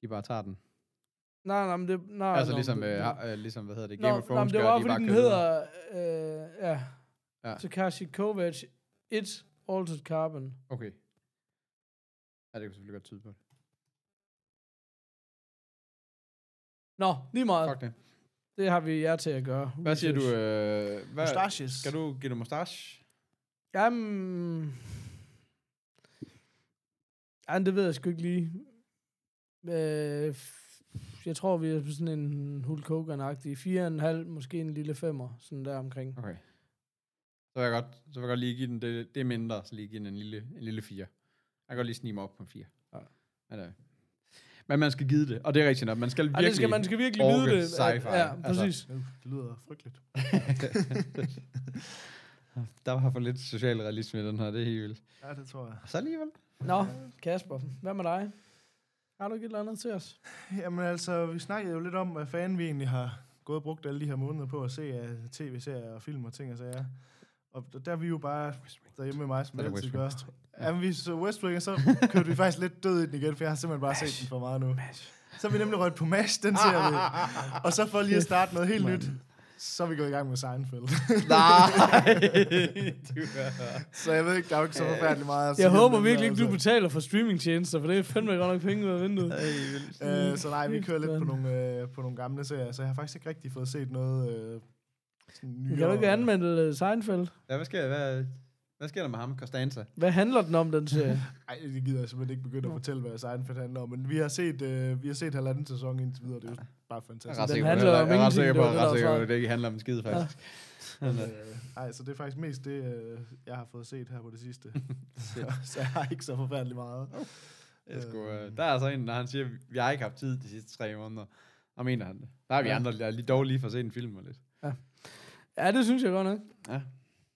De bare tager den.
Nej, nej, men det... Nej,
Altså
nå,
ligesom,
men det-
øh,
det-
har- øh, ligesom, hvad hedder det,
Nå,
Game of
nej,
Thrones
men det
gør,
var,
de
fordi
bare
den
kører videre.
hedder... Øh, ja.
Ja.
ja. Takashi Kovacs, It, Altered Carbon.
Okay. Ja, det kan selvfølgelig godt tyde på. det.
Nå, lige meget.
Fuck det.
Det har vi jer til at gøre.
Hvad siger du? Øh, hvad,
Mustaches.
skal du give dig mustache?
Jamen... Jamen, det ved jeg sgu ikke lige. Øh, f- jeg tror, vi er på sådan en Hulk Hogan-agtig. Fire og en halv, måske en lille femmer, sådan der omkring.
Okay. Så vil jeg godt, så vil jeg godt lige give den, det, det er mindre, så lige give den en lille, en lille fire. Jeg kan godt lige snige mig op på en fire.
Ja.
Men, øh, men man skal give det, og det er rigtigt nok. Man skal
Ej,
virkelig...
det skal, man skal virkelig
orke
vide det. at-
sci-fi,
Ja,
altså.
præcis. Altså.
Øh, Det lyder frygteligt.
Der var for lidt social realisme i den her, det er helt vildt.
Ja, det tror jeg.
Så alligevel.
Nå, Kasper, hvad med dig? Har du ikke et eller andet til os?
Jamen altså, vi snakkede jo lidt om, hvad fanden vi egentlig har gået og brugt alle de her måneder på at se af tv-serier og film og ting og sager. Og d- der er vi jo bare derhjemme med mig, som
Så er
jeg
det
altid
West
gør. Jamen, vi så West Wing, og så kørte vi faktisk lidt død i den igen, for jeg har simpelthen bare set den for meget nu. Så har vi nemlig rødt på MASH, den ser vi. Og så for lige at starte noget helt nyt, så er vi gået i gang med Seinfeld.
Nej. du er-
så jeg ved ikke, der er jo ikke så forfærdeligt meget. at sige
Jeg
om
håber
den,
virkelig ikke, du
altså.
betaler for streamingtjenester, for det er fandme godt nok penge ud af vinduet.
Øh, så nej, vi kører lidt på
Mand.
nogle, øh, på nogle gamle serier, så jeg har faktisk ikke rigtig fået set noget øh, sådan nyere.
Kan du ikke anmelde øh, Seinfeld?
Ja, hvad sker, hvad, hvad sker der med ham, Costanza?
Hvad handler den om, den serie?
Ej, det gider jeg simpelthen ikke begynde at fortælle, hvad Seinfeld handler om, men vi har set, øh, vi har set halvanden sæson indtil videre, det er jo bare
Jeg
fantastisk.
er ret
Den
sikker på,
handler
jeg
om
er ret
ingenting,
sikker på,
det var
jeg
det,
er
der
ret sikker
var
på, at det ikke handler om en skid, faktisk.
Øh, Ej, så det er faktisk mest det, øh, jeg har fået set her på det sidste. så, så jeg har ikke så forfærdelig meget.
Oh. Jeg skulle, øh, der er altså en, når han siger, vi har ikke haft tid de sidste tre måneder. Og mener han det. Der er vi
Ja.
andre, der er lige dog lige for at se en film og lidt.
Ja, det synes jeg godt nok.
Ja.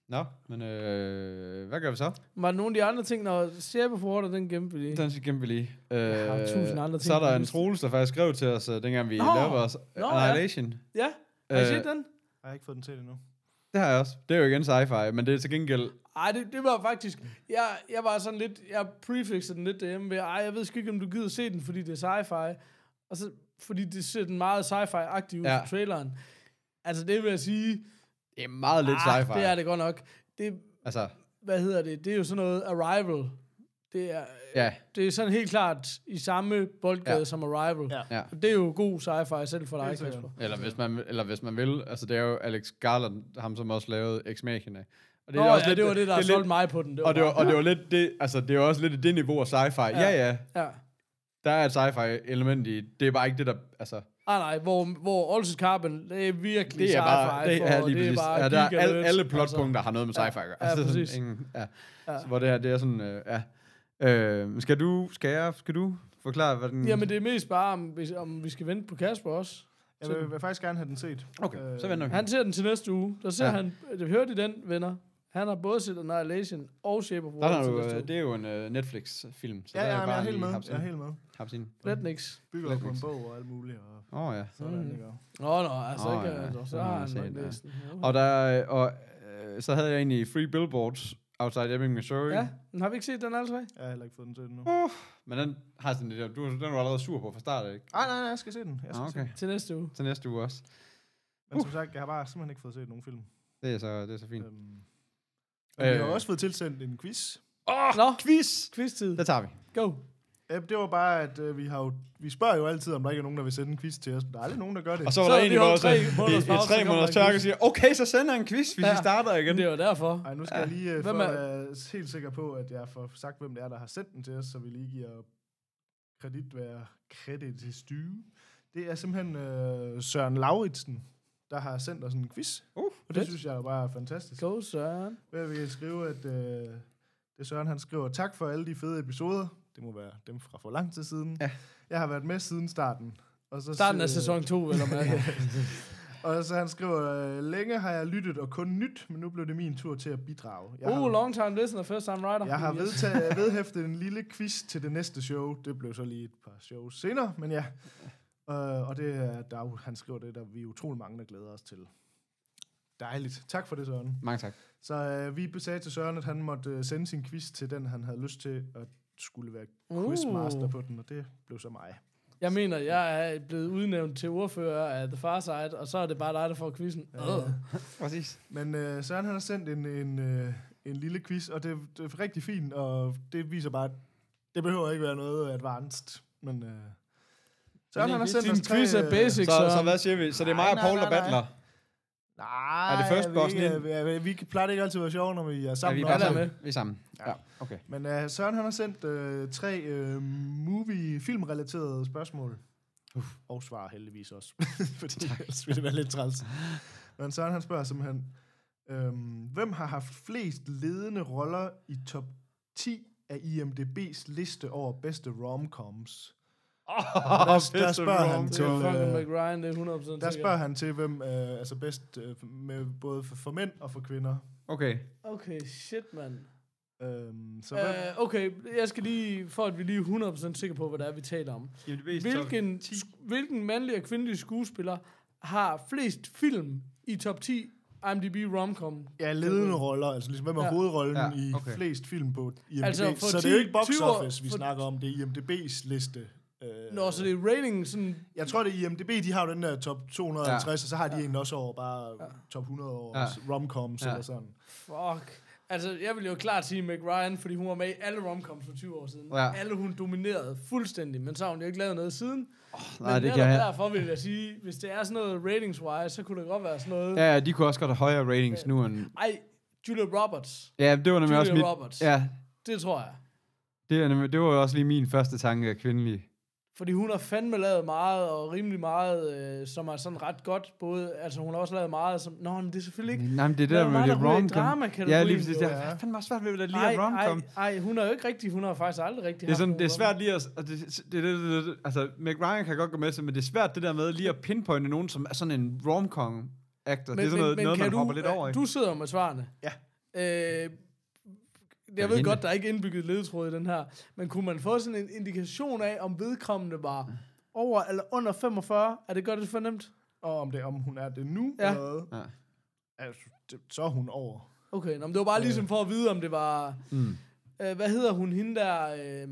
Nå, men øh, hvad gør vi så?
Var der nogle af de andre ting, når Sjæbe for Order, den gemte vi lige.
Den skal vi lige. Øh,
har tusind andre
så er
ting på
der en
listen.
Troels, der faktisk skrev til os, øh, dengang vi
Nå!
lavede vores
ja.
Annihilation.
Ja, har I
Øh,
set den?
Jeg har ikke fået den set endnu.
det har jeg også. Det er jo igen sci-fi, men det er til gengæld...
Ej, det, det var faktisk... Jeg, jeg var sådan lidt... Jeg prefixede den lidt derhjemme ved, ej, jeg ved sgu ikke, om du gider se den, fordi det er sci-fi. Og så, fordi det ser den meget sci-fi-agtig ud
Ja.
ja. i traileren. Altså, det vil jeg sige...
Det er meget lidt
ah,
sci-fi.
det er det godt nok. Det,
Altså,
hvad hedder det? Det er jo sådan noget Arrival. Det er,
ja.
det er sådan helt klart i samme boldgade
Ja.
ja. som Arrival.
ja.
Og Det er jo god sci-fi selv for dig,
sikkert.
Kasper.
Eller hvis, man, eller hvis man vil, altså det er jo Alex Garland, ham som også lavede Ex Machina. Og
Nå, ja, det var det, der
er
solgte
lidt-
mig på den. Det var
Og det var,
bare-
og det var lidt det, altså det er jo også lidt i det niveau af sci-fi. Ja. ja, ja,
Ja.
der er et sci-fi element i, det er bare ikke det, der, altså,
Ah, nej, hvor, hvor Olsen Carbon, det er virkelig
det er
sci-fi.
bare, det
for
er lige præcis, ja, der er
giga
alle,
nerds,
alle plotpunkter har noget med
Ja,
sci-fi at gøre.
ja,
Altså, det er sådan
præcis.
Ingen, ja.
Ja.
Så, hvor det her, det er sådan, øh, ja. Øh, skal du, skal jeg, skal du forklare, hvad den...
Altså. Jamen, det er mest bare, om, hvis- om vi skal vente på Kasper også.
Jeg vil, vil faktisk gerne have den set. Øh,
okay, så venter vi.
Han ser den til næste uge. Der ser
Ja.
ja. han, det hørte I den, venner. Han har både set Annihilation og Shape of
Der
Water
er
til
jo,
næste
øh,
uge.
det er jo en øh, Netflix-film, så
Ja,
der
ja,
er jo
jamen, jeg
bare
er helt
lige
med.
haps
Jeg er
ind.
helt med.
Haps ind.
Netflix.
Bygger
Slet
op på en
ikke.
bog og alt muligt. Og
Åh oh, ja.
sådan,
Mm.
ikke? Og-
Nå, nå, altså
Nå,
oh, ikke.
ja,
Ja.
så
Så
har
har
han set
han
den,
nok
ja.
læst den.
Og, der, øh, og øh, så havde jeg egentlig Free Billboards Outside Ebbing, Missouri.
Ja, men har vi ikke set den alle tre?
Jeg har heller ikke fået den set endnu.
Men den har sådan lidt, du, den var du allerede sur på fra start, ikke?
Nej, nej, nej, jeg skal se den. Jeg skal
Ah,
se den.
okay.
Til næste uge.
Til næste uge også.
Men som sagt, jeg har bare simpelthen ikke fået set nogen film.
Det er så, det er så fint.
Øhm. Men vi har
Øh.
også fået tilsendt en quiz.
Ah,
Nå, quiz! Quiz-tid.
Det tager vi.
Go.
Ja, det var bare, at øh, vi, har jo, vi spørger jo altid, om der ikke er nogen, der vil sende en quiz til os. Men der er aldrig nogen, der gør det.
Og så var
Øh, Så
der
har
en,
vi
der var
holdt
sådan,
tre måneders
i, i
pause,
tre
så kommer
måneders
der en
tørke
quiz.
og siger, okay, så sender jeg en quiz, hvis vi
Ja.
starter igen.
Det er jo derfor.
Ej, nu skal jeg lige, øh, for
Hvem
at
er-
være helt sikker på, at jeg får sagt, hvem det er, der har sendt den til os, så vi lige giver kredit, hvad er kredit til styve. Det er simpelthen øh, Søren Lauritsen, der har sendt os en quiz.
Uh,
og det
fedt.
synes jeg jo bare er fantastisk.
Go, Søren.
Hvad vi kan skrive, at øh, det er Søren, han skriver, tak for alle de fede episoder. Det må være dem fra for lang tid siden.
Ja.
Jeg har været med siden starten. Og så
Starten af
siger-
sæson 2, vel om mærke.
Og så han skriver, øh, længe har jeg lyttet og kun nyt, men nu blev det min tur til at bidrage. Jeg
Oh,
har,
long time listener, first time writer.
jeg har
Yes.
vedtaget, vedhæftet en lille quiz til det næste show. Det blev så lige et par shows senere, men ja. Øh, og det er, der, er jo- han skriver det, der vi er utrolig mange, der glæder os til. Dejligt. Tak for det, Søren.
Mange tak.
Så øh, vi sagde til Søren, at han måtte øh, sende sin quiz til den, han havde lyst til at skulle være
Uh.
quizmaster på den, og det blev så mig.
Jeg mener, jeg er blevet udnævnt til ordfører af The Far Side, og så er det bare dig, der får quizzen. Ja.
Ja.
Præcis.
Men øh, Søren han har sendt en, en, øh, en lille quiz, og det, det er rigtig fint, og det viser bare, at det behøver ikke være noget advanced, men... Øh, Søren han har sendt
Din
os tre...
quiz er
øh,
basic,
Så,
Søren.
så hvad siger vi? Så det er mig
Nej,
og
nej,
Paul, der
nej, nej.
battler.
Nej,
Er det first
vi,
bossen
ikke,
ind?
vi, vi, vi plejer det ikke altid at være sjove, når vi er
Ja,
sammen.
vi er
også.
bare
Alle er
sammen. Vi er sammen.
Ja.
Ja, okay.
men øh, Søren han har sendt øh, tre øh, movie-filmrelaterede spørgsmål. Og svar heldigvis også. Fordi ellers ville det være lidt træls. Men Søren han spørger simpelthen, øhm, hvem har haft flest ledende roller i top 10 af IMDB's liste over bedste romcoms?
Oh,
der spørger han
Det
til,
er fucking
øh,
McRyan, det er 100%
Der
sikkert.
spørger han til, hvem øh, altså bedst øh, med både for, for mænd og for kvinder.
Okay.
Okay, shit, mand.
Øhm, så hvem,
Øh, okay, jeg skal lige, for at vi lige er 100% sikre på, hvad det er, vi taler om. Hvilken, sk- hvilken mandlig og kvindelig skuespiller har flest film i top 10 IMDb romcom?
Ja, ledende roller, altså ligesom, hvem er ja.
Ja.
hovedrollen ja,
Ja,
okay. i
okay.
flest film på IMDb?
Altså,
Altså,
for
så det er jo
10
ikke box
20 år-
office, vi
for-
snakker om, det er IMDb's liste Øh,
Nå, så det er rating sådan...
Jeg tror, det er IMDB, de har jo den der top 250, ja. og så har de ja. en også over bare ja. top 100 over ja. romcoms ja.
Ja.
eller sådan.
Fuck. Altså, jeg vil jo klart sige Meg Ryan, fordi hun var med i alle romcoms for 20 år siden.
Ja.
Alle hun dominerede fuldstændig, men så har hun jo ikke lavet noget siden.
Nej,
men
det
netop
kan jeg.
derfor vil jeg sige, hvis det er sådan noget ratings-wise, så kunne det godt være sådan noget...
Ja, ja, de kunne også godt have højere ratings nu end...
Ej, Julia Roberts.
Ja, det var nemlig
Julia
også mit...
Roberts.
Ja,
Det tror jeg.
det, er nemlig, det var jo også lige min første tanke af kvindelig.
Fordi hun har fandme lavet meget, og rimelig meget, øh, som er sådan ret godt. Både, altså hun har også lavet meget, som... Nå, men det er selvfølgelig ikke...
Nej, men det er det
Der
der
er
med
meget,
det
der ryger i
romcom.
drama-kategorien,
Ja, lige præcis.
jo,
Det
ja.
er fandme også svært ved at lige
Ej,
at romcom.
ej, ej, hun er jo ikke rigtig... Hun har faktisk aldrig rigtig
Det er,
haft
sådan,
nogen
det er svært
rom-
lige at... Og det, det, det, det, det, altså, Meg Ryan kan godt gå med til, men det er svært det der med lige at pinpointe nogen, som er sådan en romcom actor. Det er sådan noget, noget
kan
man hopper
du, øh,
lidt over i.
Du sidder jo med svarene.
Ja.
Øh, jeg ved
hente.
godt, der er ikke indbygget ledetråd i den her, men kunne man få sådan en indikation af, om vedkommende var over eller under 45? Er det godt, det er for nemt?
Og om det om hun er det nu,
Ja.
ja. eller hvad,
Ja.
altså, det, så er hun over.
Okay, nå, men det
Øh.
var bare ligesom for at vide, om det var...
Mm.
Øh, hvad hedder hun, hende der... Øh,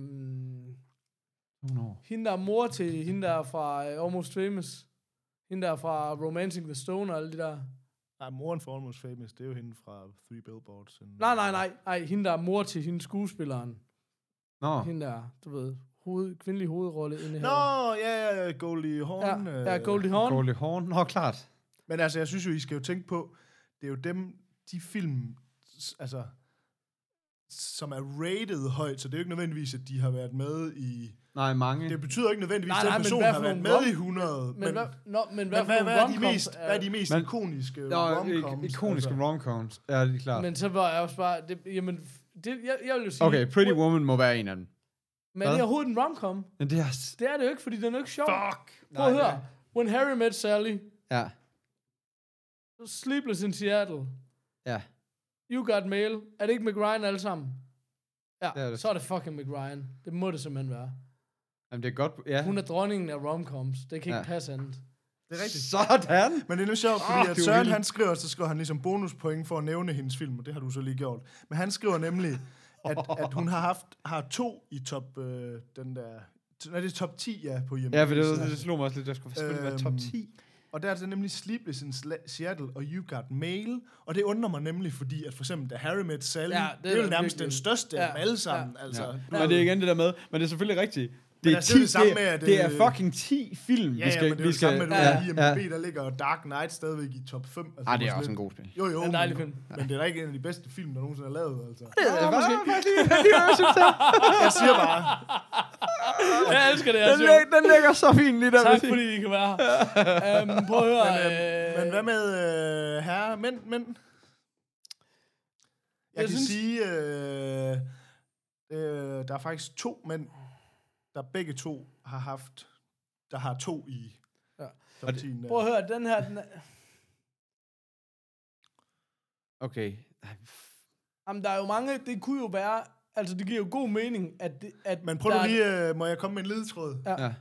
Nogle år.
hende der er mor til hende der er fra øh, Almost Famous. Hende der er fra Romancing the Stone og alle de der...
Nej, moren for Almost Famous, det er jo hende fra Three Billboards. and-
Nej, nej, nej, nej. Hende der er mor til hende skuespilleren.
Nå,
Hende der, du ved, hoved, kvindelig hovedrolle inde
Nå, ja, ja, Goldie Hawn.
Ja, ja
øh,
Goldie Hawn.
Goldie Horn. Nå, klart.
Men altså, jeg synes jo, I skal jo tænke på, det er jo dem, de film, s- altså, som er rated højt, så det er jo ikke nødvendigvis, at de har været med i...
Nej, mange.
Det betyder ikke nødvendigvis,
Nej,
at
nej,
den
men
person
hvad
har
for
været
nogle
med i
rom-
100. Men,
Men, hvad, nå, men hvad,
hvad,
for
hvad,
nogle
hvad, er de
romcoms
mest, hvad er de mest
Men-
ikoniske
Nå, øh,
romcoms?
ik- ikoniske
altså?
romcoms. Ja, det er klart.
Men så var jeg også bare, det, jamen, f- det, jeg, jeg vil jo sige...
Okay, Pretty Woman må være en af dem.
Men det er overhovedet en romcom.
Men det er... s-
Det er det jo ikke, fordi den er jo ikke sjov. Fuck! Prøv at høre. When Harry Met Sally,
Ja,
Sleepless in Seattle,
ja.
You Got Mail, er det ikke McRyan alle sammen? Ja,
Det er det.
så er det fucking McRyan. Det må det simpelthen være.
Jamen, det er godt... Ja.
Hun er dronningen af romcoms. Det kan ikke
Ja.
passe andet.
Det er rigtigt.
Sådan!
Men det er nu sjovt, fordi
Ah,
at
det er
Søren
uheldigt.
han skriver, så skriver han ligesom bonuspoint for at nævne hendes film, og det har du så lige gjort. Men han skriver nemlig, at, at hun har haft har to i top, øh, den der, nej, det er top 10, ja, på IMDb.
Ja, for det, det, det slog mig også lidt. Der skulle selvfølgelig være top
Øhm,
10.
Og der er det nemlig Sleepless in Sla- Seattle og You Got Mail. Og det undrer mig nemlig, fordi at for eksempel da Harry Met Sally,
Ja,
ja,
det er
det, det er jo
da
nærmest
virkelig-
den største ja, af
Ja,
dem alle sammen. Ja, altså,
Ja.
ja.
Men det er igen det der med... Men det er selvfølgelig rigtigt. Det
Men
er,
altså,
10,
det er det samme
det,
med,
er,
at,
det er
øh,
fucking 10 film, vi
Ja, vi
skal...
ja, men det er jo
vi
det samme
skal,
med, at
ja,
ja, IMDb, ja. der ligger Dark Knight stadigvæk i top 5. Altså,
Ah, det er
sådan
også en
lidt-
god spil.
Jo, jo,
Det er en dejlig
men-
film.
Men det er da ikke en af de bedste film, der nogensinde er lavet. Altså.
Ja, måske.
Jeg siger bare,
Jeg elsker det, jeg
Den,
siger.
læg, den ligger så fint lige der.
Tak
hvis I-
fordi I kan være her. um, prøv at høre.
Men,
øh,
men hvad med øh, herre, mænd, mænd? Jeg, jeg
Jeg
kan synes...
synes-
sige, øh, øh, der er faktisk to mænd, der begge to har haft, der har to i
Ja.
ja. top 10.
Prøv at høre, den her, den er,
Okay.
jamen, der er jo mange, det kunne jo være, altså det giver jo god mening, at, det, at
Men prøv
der
nu
er-
lige, øh, må jeg komme med en ledetråd?
Ja.
Ja.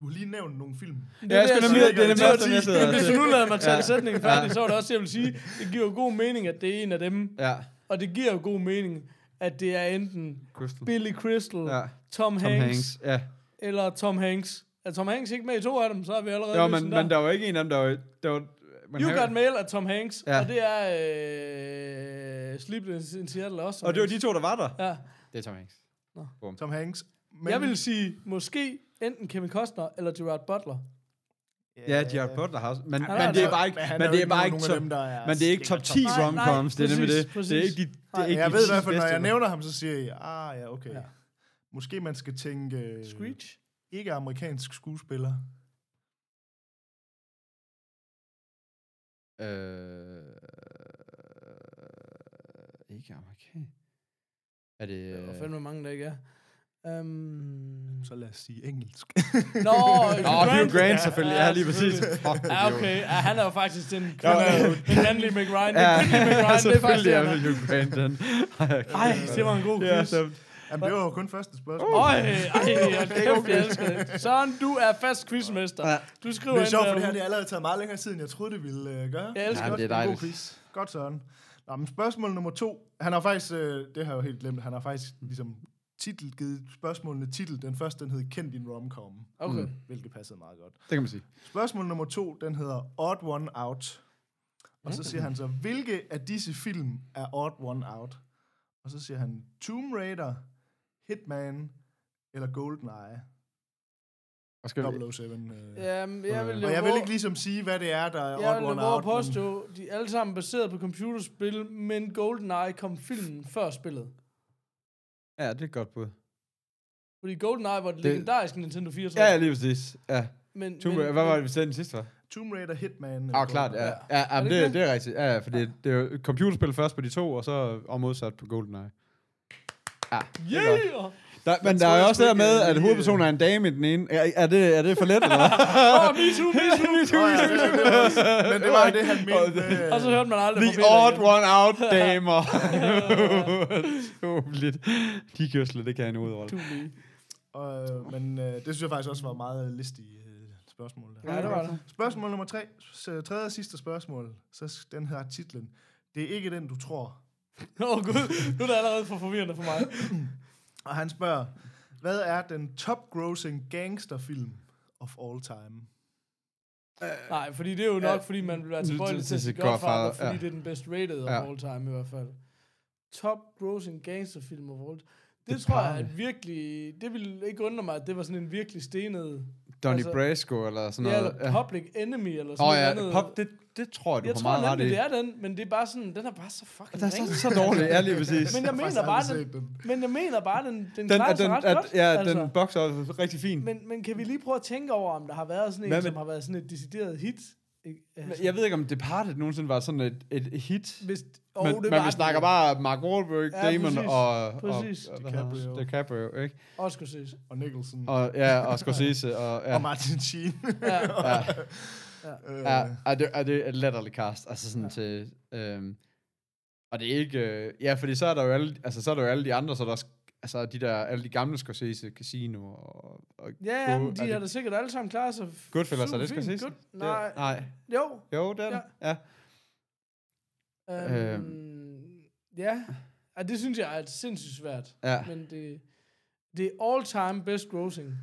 Du har lige nævnt nogle film.
det
Ja, jeg skulle
vil
nemlig...
sige,
Det er
det er
nemlig også,
top
som jeg
10.
sidder og
Hvis du
siger.
nu lader mig tage
Ja.
sætningen færdig, så var det også, jeg vil sige, det giver jo god mening, at det er en af dem.
Ja.
Og det giver jo god mening, at det er enten
Crystal.
Billy Crystal,
Ja.
Tom,
Tom
Hanks,
Hanks. Ja.
eller Tom Hanks. Er Tom Hanks ikke med i to af dem, så er vi allerede
Jo,
løst
men,
den
men der var ikke en af dem, der var... Der var men
You
Harry-
Got Mail af Tom Hanks,
Ja.
og det er øh, Sleepless in Seattle også. Tom
Og det var
Hanks.
de to, der var der.
Ja.
Det er Tom Hanks.
Tom Hanks. Men,
Men... Jeg vil sige, måske enten Kevin Costner eller Gerard Butler.
Ja, Gerard Butler har også. Men,
han
men
er
det er
altså-
bare ikke,
men han
men
er
det
jo
er bare
ikke
ikke
nogen af
top,
dem, der er-
men det er ikke
ligger
top
top
10
Nej, nej,
romcoms, det er nemlig
præcis,
det. Det er
præcis.
ikke de, det
Nej,
er ikke
jeg
de
ved i
10
hvert fald, når
bedste,
jeg
men-
nævner ham, så siger jeg, ah ja, okay.
Ja.
Ja. Måske man skal tænke øh,
Screech?
ikke amerikansk skuespiller.
Øh, ikke amerikansk. Er det...
Øh. Hvor fanden hvor mange der ikke er. Um...
Så lad os sige engelsk.
Nå,
Nå, Hugh Grant selvfølgelig. Ja, lige præcis. Fuck,
Ja, okay. Ja, han er jo faktisk den
Ja,
kvinde, den mandlige McRyan. Den
Ja,
kvindelige McRyan, det er faktisk
selvfølgelig
det,
er
han
det
er.
Hugh Grant, den.
Ej, det var en god
Ja,
quiz.
så,
Jamen, det var jo kun første spørgsmål.
Øj, ej, jeg kæft, jeg elsker det. Søren, du er fast quizmester.
Ja.
Du skriver
Det er
ind
sjovt, for det
derude.
her det har allerede taget meget længere tid, end jeg troede, det ville øh, gøre.
Jeg elsker
Ja, men det er
En god
dejligt.
quiz. Godt, Søren. Nå, men spørgsmål nummer to. Han har faktisk, øh, det har jeg jo helt glemt, han har faktisk ligesom titel, givet spørgsmålene titel. Den første, den hed Kend din romcom,
Okay.
Mm.
hvilket passede meget godt.
Det kan man sige.
Spørgsmål nummer to, den hedder Odd One Out. Og så siger han så, hvilke af disse film er Odd One Out? Og så siger han Tomb Raider, Hitman eller Goldeneye
Og skal vi,
007. Øh.
Jamen, jeg vil jo
Og jeg vil
våge-
ikke ligesom sige, hvad det er, der er
jeg vil
Odd
jo
One
våge at
Out. men-
påstå, de er alle sammen baseret på computerspil, men GoldenEye kom filmen før spillet.
ja, det er et godt bud.
Fordi GoldenEye var det, legendariske Nintendo 64.
Ja, ja, lige præcis. Ja.
men,
Tomb Raider, hvad var det, vi sagde den sidste, var?
Tomb Raider, Hitman. øh,
Ja,
eller
ah, klart, ja.
Ja.
ja. ja, ja
Er det
det,
ikke
det, er rigtigt. Ja, ja, fordi det er jo computerspil først på de to, og så og modsat på GoldenEye. Ja, det er godt.
Yeah!
Der, men der
tror
er jo
jeg
også
sgu
det der
ikke,
med,
at
at
vi, øh,
hovedpersonen er en dame i den ene. Er, er, det, er det for let, eller hvad?
Åh, oh, me too, me too.
Nå ja, det er- det er også- Men det var det, han mente. øh, med-
Og så hørte man aldrig
The
fra Peter
odd
igen.
one out, damer. Tåbeligt. De kan jo slet ikke have en udrolle.
Og, men øh, det synes jeg faktisk også var meget listige øh, spørgsmål. Der.
Ja, det var det.
Spørgsmål nummer tre. S- øh, Tredje og sidste spørgsmål. Så s- den her titlen. Det er ikke den, du tror.
Åh oh, gud, nu er det allerede for forvirrende for mig.
Og han spørger, hvad er den top-grossing gangsterfilm of all time?
Øh,
Nej, fordi det er jo nok, fordi man vil være tilbøjelig til at sige Godfather, fordi det er den best rated of
Ja.
all time i hvert fald. Top grossing gangsterfilm of all time. Det, det tror jeg at virkelig, det ville ikke undre mig, at det var sådan en virkelig stenet,
Donny
Altså-
Brasco eller sådan
ja,
noget.
eller Public Enemy eller
Åh
sådan noget
ja,
andet.
pop, det, det tror jeg, du
jeg
har
tror
meget ret i.
nemlig, det er den, men det er bare sådan, den er bare så fucking
Det er
ringe.
så, så dårligt, ja lige præcis.
Men jeg mener bare, den, men jeg mener bare, den, den,
den,
klarer
at
sig
den,
ret
at,
godt. altså.
ja, den bokser også rigtig fint.
Men, men kan vi lige prøve at tænke over, om der har været sådan en,
Hvad med-
som har været sådan et decideret hit? Ikke?
Men
Altså,
Jeg ved ikke, om Departed nogensinde var sådan et, et hit.
hvis,
Oh,
oh,
men,
det
men
var
vi
den.
snakker bare Mark Wahlberg,
Ja,
Damon
præcis.
og,
Præcis.
og, og hvad hedder han?
DiCaprio.
DiCaprio, ikke?
Også kunne ses.
Og Nicholson. Og,
Og, ja, og Scorsese. Og, ja.
og Martin Sheen.
Ja.
Ja.
Øh,
Ja, er det, er det et latterligt cast, altså sådan ja. til, øhm, og det er ikke, øh, ja, fordi så er der jo alle, altså så er der jo alle de andre, så er der også, altså de der, alle de gamle Scorsese, Casino og, og
Ja, ja, men
Go-
de
Uh, er
har
det-
da sikkert alle sammen klaret sig. f-
Goodfellas, er det
superfint.
Scorsese?
Good- Nej,
Det, nej.
jo.
Jo, det er det. Ja.
Øhm, Ja, Ej, det synes jeg er sindssygt svært.
Ja.
Men det, det er all-time best grossing.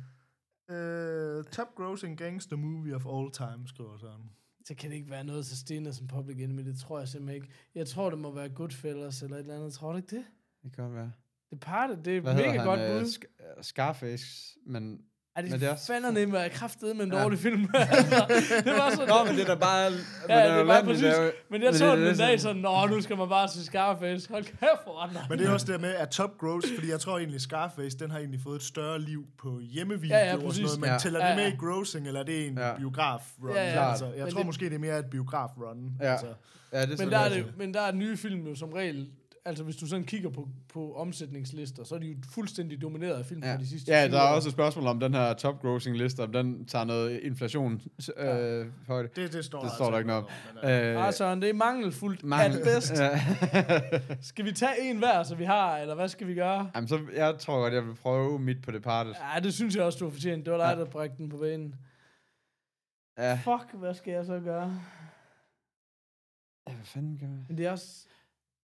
øh, top-grossing gangster movie of all time, skriver han.
Så kan det ikke være noget så stenet som Public Enemy, det tror jeg simpelthen ikke. Jeg tror, det må være Goodfellas eller et eller andet. Tror du ikke det?
Det kan godt være.
Det parter, det er
Hvad
mega
hedder
godt
han?
bud.
Øh, Sk- øh, Scarface, men...
Ej, det,
Men
det
det
er
er
også...
også-
fandme nemt at kraftede med en
Ja.
dårlig film. altså, det var sådan...
Nå, men det er da bare...
Ja, det er bare præcis. Men jeg
men
så
det er
den
det,
en dag
sådan-
sådan, Nå, nu skal man bare se Scarface. Hold kæft, hvor andre.
Men det er også det med, at Top Gross, fordi jeg tror egentlig, Scarface, den har egentlig fået et større liv på hjemmevideo
Ja, ja,
og
præcis.
sådan noget, men
Ja.
tæller
Ja,
det med
ja.
i grossing, eller er det en
Ja.
biograf-run?
Ja, ja.
Altså, jeg
Men
tror
det-
måske, det er mere et biograf-run.
Ja.
Altså.
Ja, det er
Men
sådan,
der er,
altså.
det, men der er nye film jo som regel, altså hvis du sådan kigger på, på omsætningslister, så er de jo fuldstændig domineret af film ja.
Ja.
fra de sidste
ja,
20
der er
år.
også et spørgsmål om den her top grossing liste, om den tager noget inflation øh, højde. Øh,
Det, det står, altså
Det står der ikke noget om.
om. øh,
Ah, Søren, det er mangelfuldt
mangel-
at bedst.
Ja.
Skal vi tage en hver, så vi har, eller hvad skal vi gøre?
Jamen, så jeg tror godt, jeg vil prøve mit på Departed.
Ja, det synes jeg også, du har fortjent. Det var dig, der brækte den på banen.
Ja.
Fuck, hvad skal jeg så gøre?
ja hvad fanden kan man...
Men det er også...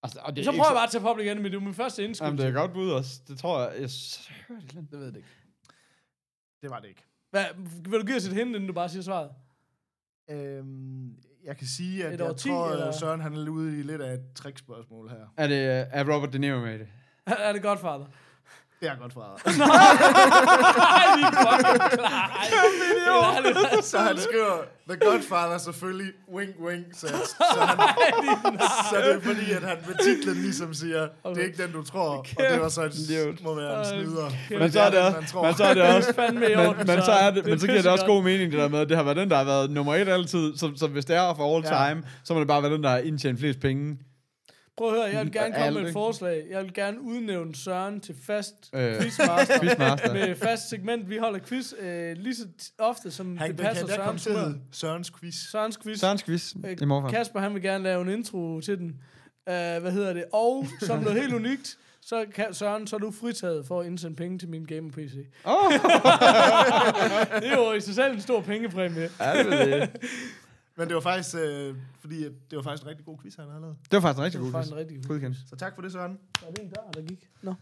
Altså, og det er
Så
ikke
prøver jeg bare at tage Public Enemy, det er min første indskud.
Jamen, det er et godt bud også. Det tror jeg... Jeg s- hører det lidt.
Det ved jeg det ikke.
Det var det ikke.
Hvad, vil du give os et hint, inden du bare siger svaret?
Øhm, jeg kan sige, at
Et
jeg
årti,
tror,
eller?
eller? Søren han er ude i lidt af et trickspørgsmål her.
Er det øh, er Robert De Niro med i det?
er det godt, fader?
Det er godt fra.
Nej, vi er fucking klar. Ej, det er det.
så han skriver, The Godfather selvfølgelig, wink wink, så, så, han, så det er fordi, at han med titlen ligesom siger, det er ikke den, du tror, og det var så
Kæft.
et, må være en snyder. fordi
Men så er det
den,
også...
man tror.
Men så er det også...
Fandme i
Men,
orden,
men, så er det, men så giver det også
pissegodt.
god mening, det der med, at det har været den, der har været nummer et altid. Så, så hvis det er for all
Ja.
time, så må det bare være den, der har indtjent flest penge.
Prøv at høre, jeg vil gerne
Og
komme
alt,
med et
ikke?
forslag. Jeg vil gerne udnævne Søren til fast
Øh,
quizmaster.
Quizmaster.
Med fast segment. Vi holder quiz øh, lige så t- ofte, som
Han
det
det
passer
kan der komme
Sørens
til at
humør.
hedde Sørens quiz.
Sørens quiz.
Sørens quiz
Øh,
i morgen.
Kasper, han vil gerne lave en intro til den. Uh, hvad hedder det? Og som noget helt unikt, så kan Søren, så er du fritaget for at indsende penge til min gamer PC.
Åh!
Det er jo i sig selv en stor pengepræmie.
Ja, det, er det.
Men det var faktisk, øh, fordi at det var faktisk en rigtig god quiz, han havde lavet.
det var faktisk en rigtig
Det var
god
faktisk en
quiz.
rigtig god
Godkendt.
Så tak for det, Søren.
Var det en dør, der gik? Nå.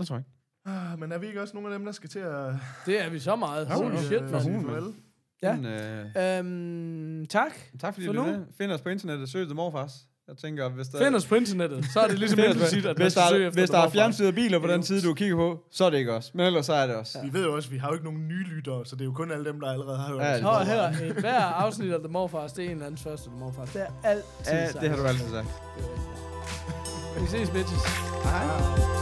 Det tror jeg ikke.
Ah, Men er vi ikke også nogle af dem, der skal til at...
Det er vi så meget.
Ja,
Holy
øh,
shit,
sige
mand.
farvel?
Ja.
Men, øh,
Øhm, tak.
tak fordi
For
du
nu.
lyttede. Find os på internettet. Søg til morfars. Jeg tænker, hvis der...
Find os på internettet. Så er det ligesom
Find os på-
implicit, at man
hvis
skal søge
der,
efter
hvis der er
Demorfars.
fjernsyde af biler på den
Jo.
side, du kigger på, så er det ikke os. Men ellers så er det os.
Vi ved jo også, at vi har jo ikke nogen nye lyttere, så det er jo kun alle dem, der allerede har hørt
Ja,
os.
det
Nå, og her, øh, hver afsnit af The Morfars, det er en eller andens første The Morfars. Det er altid
Ja,
sejt.
det har du altid sagt.
Vi ses, bitches.
Ah.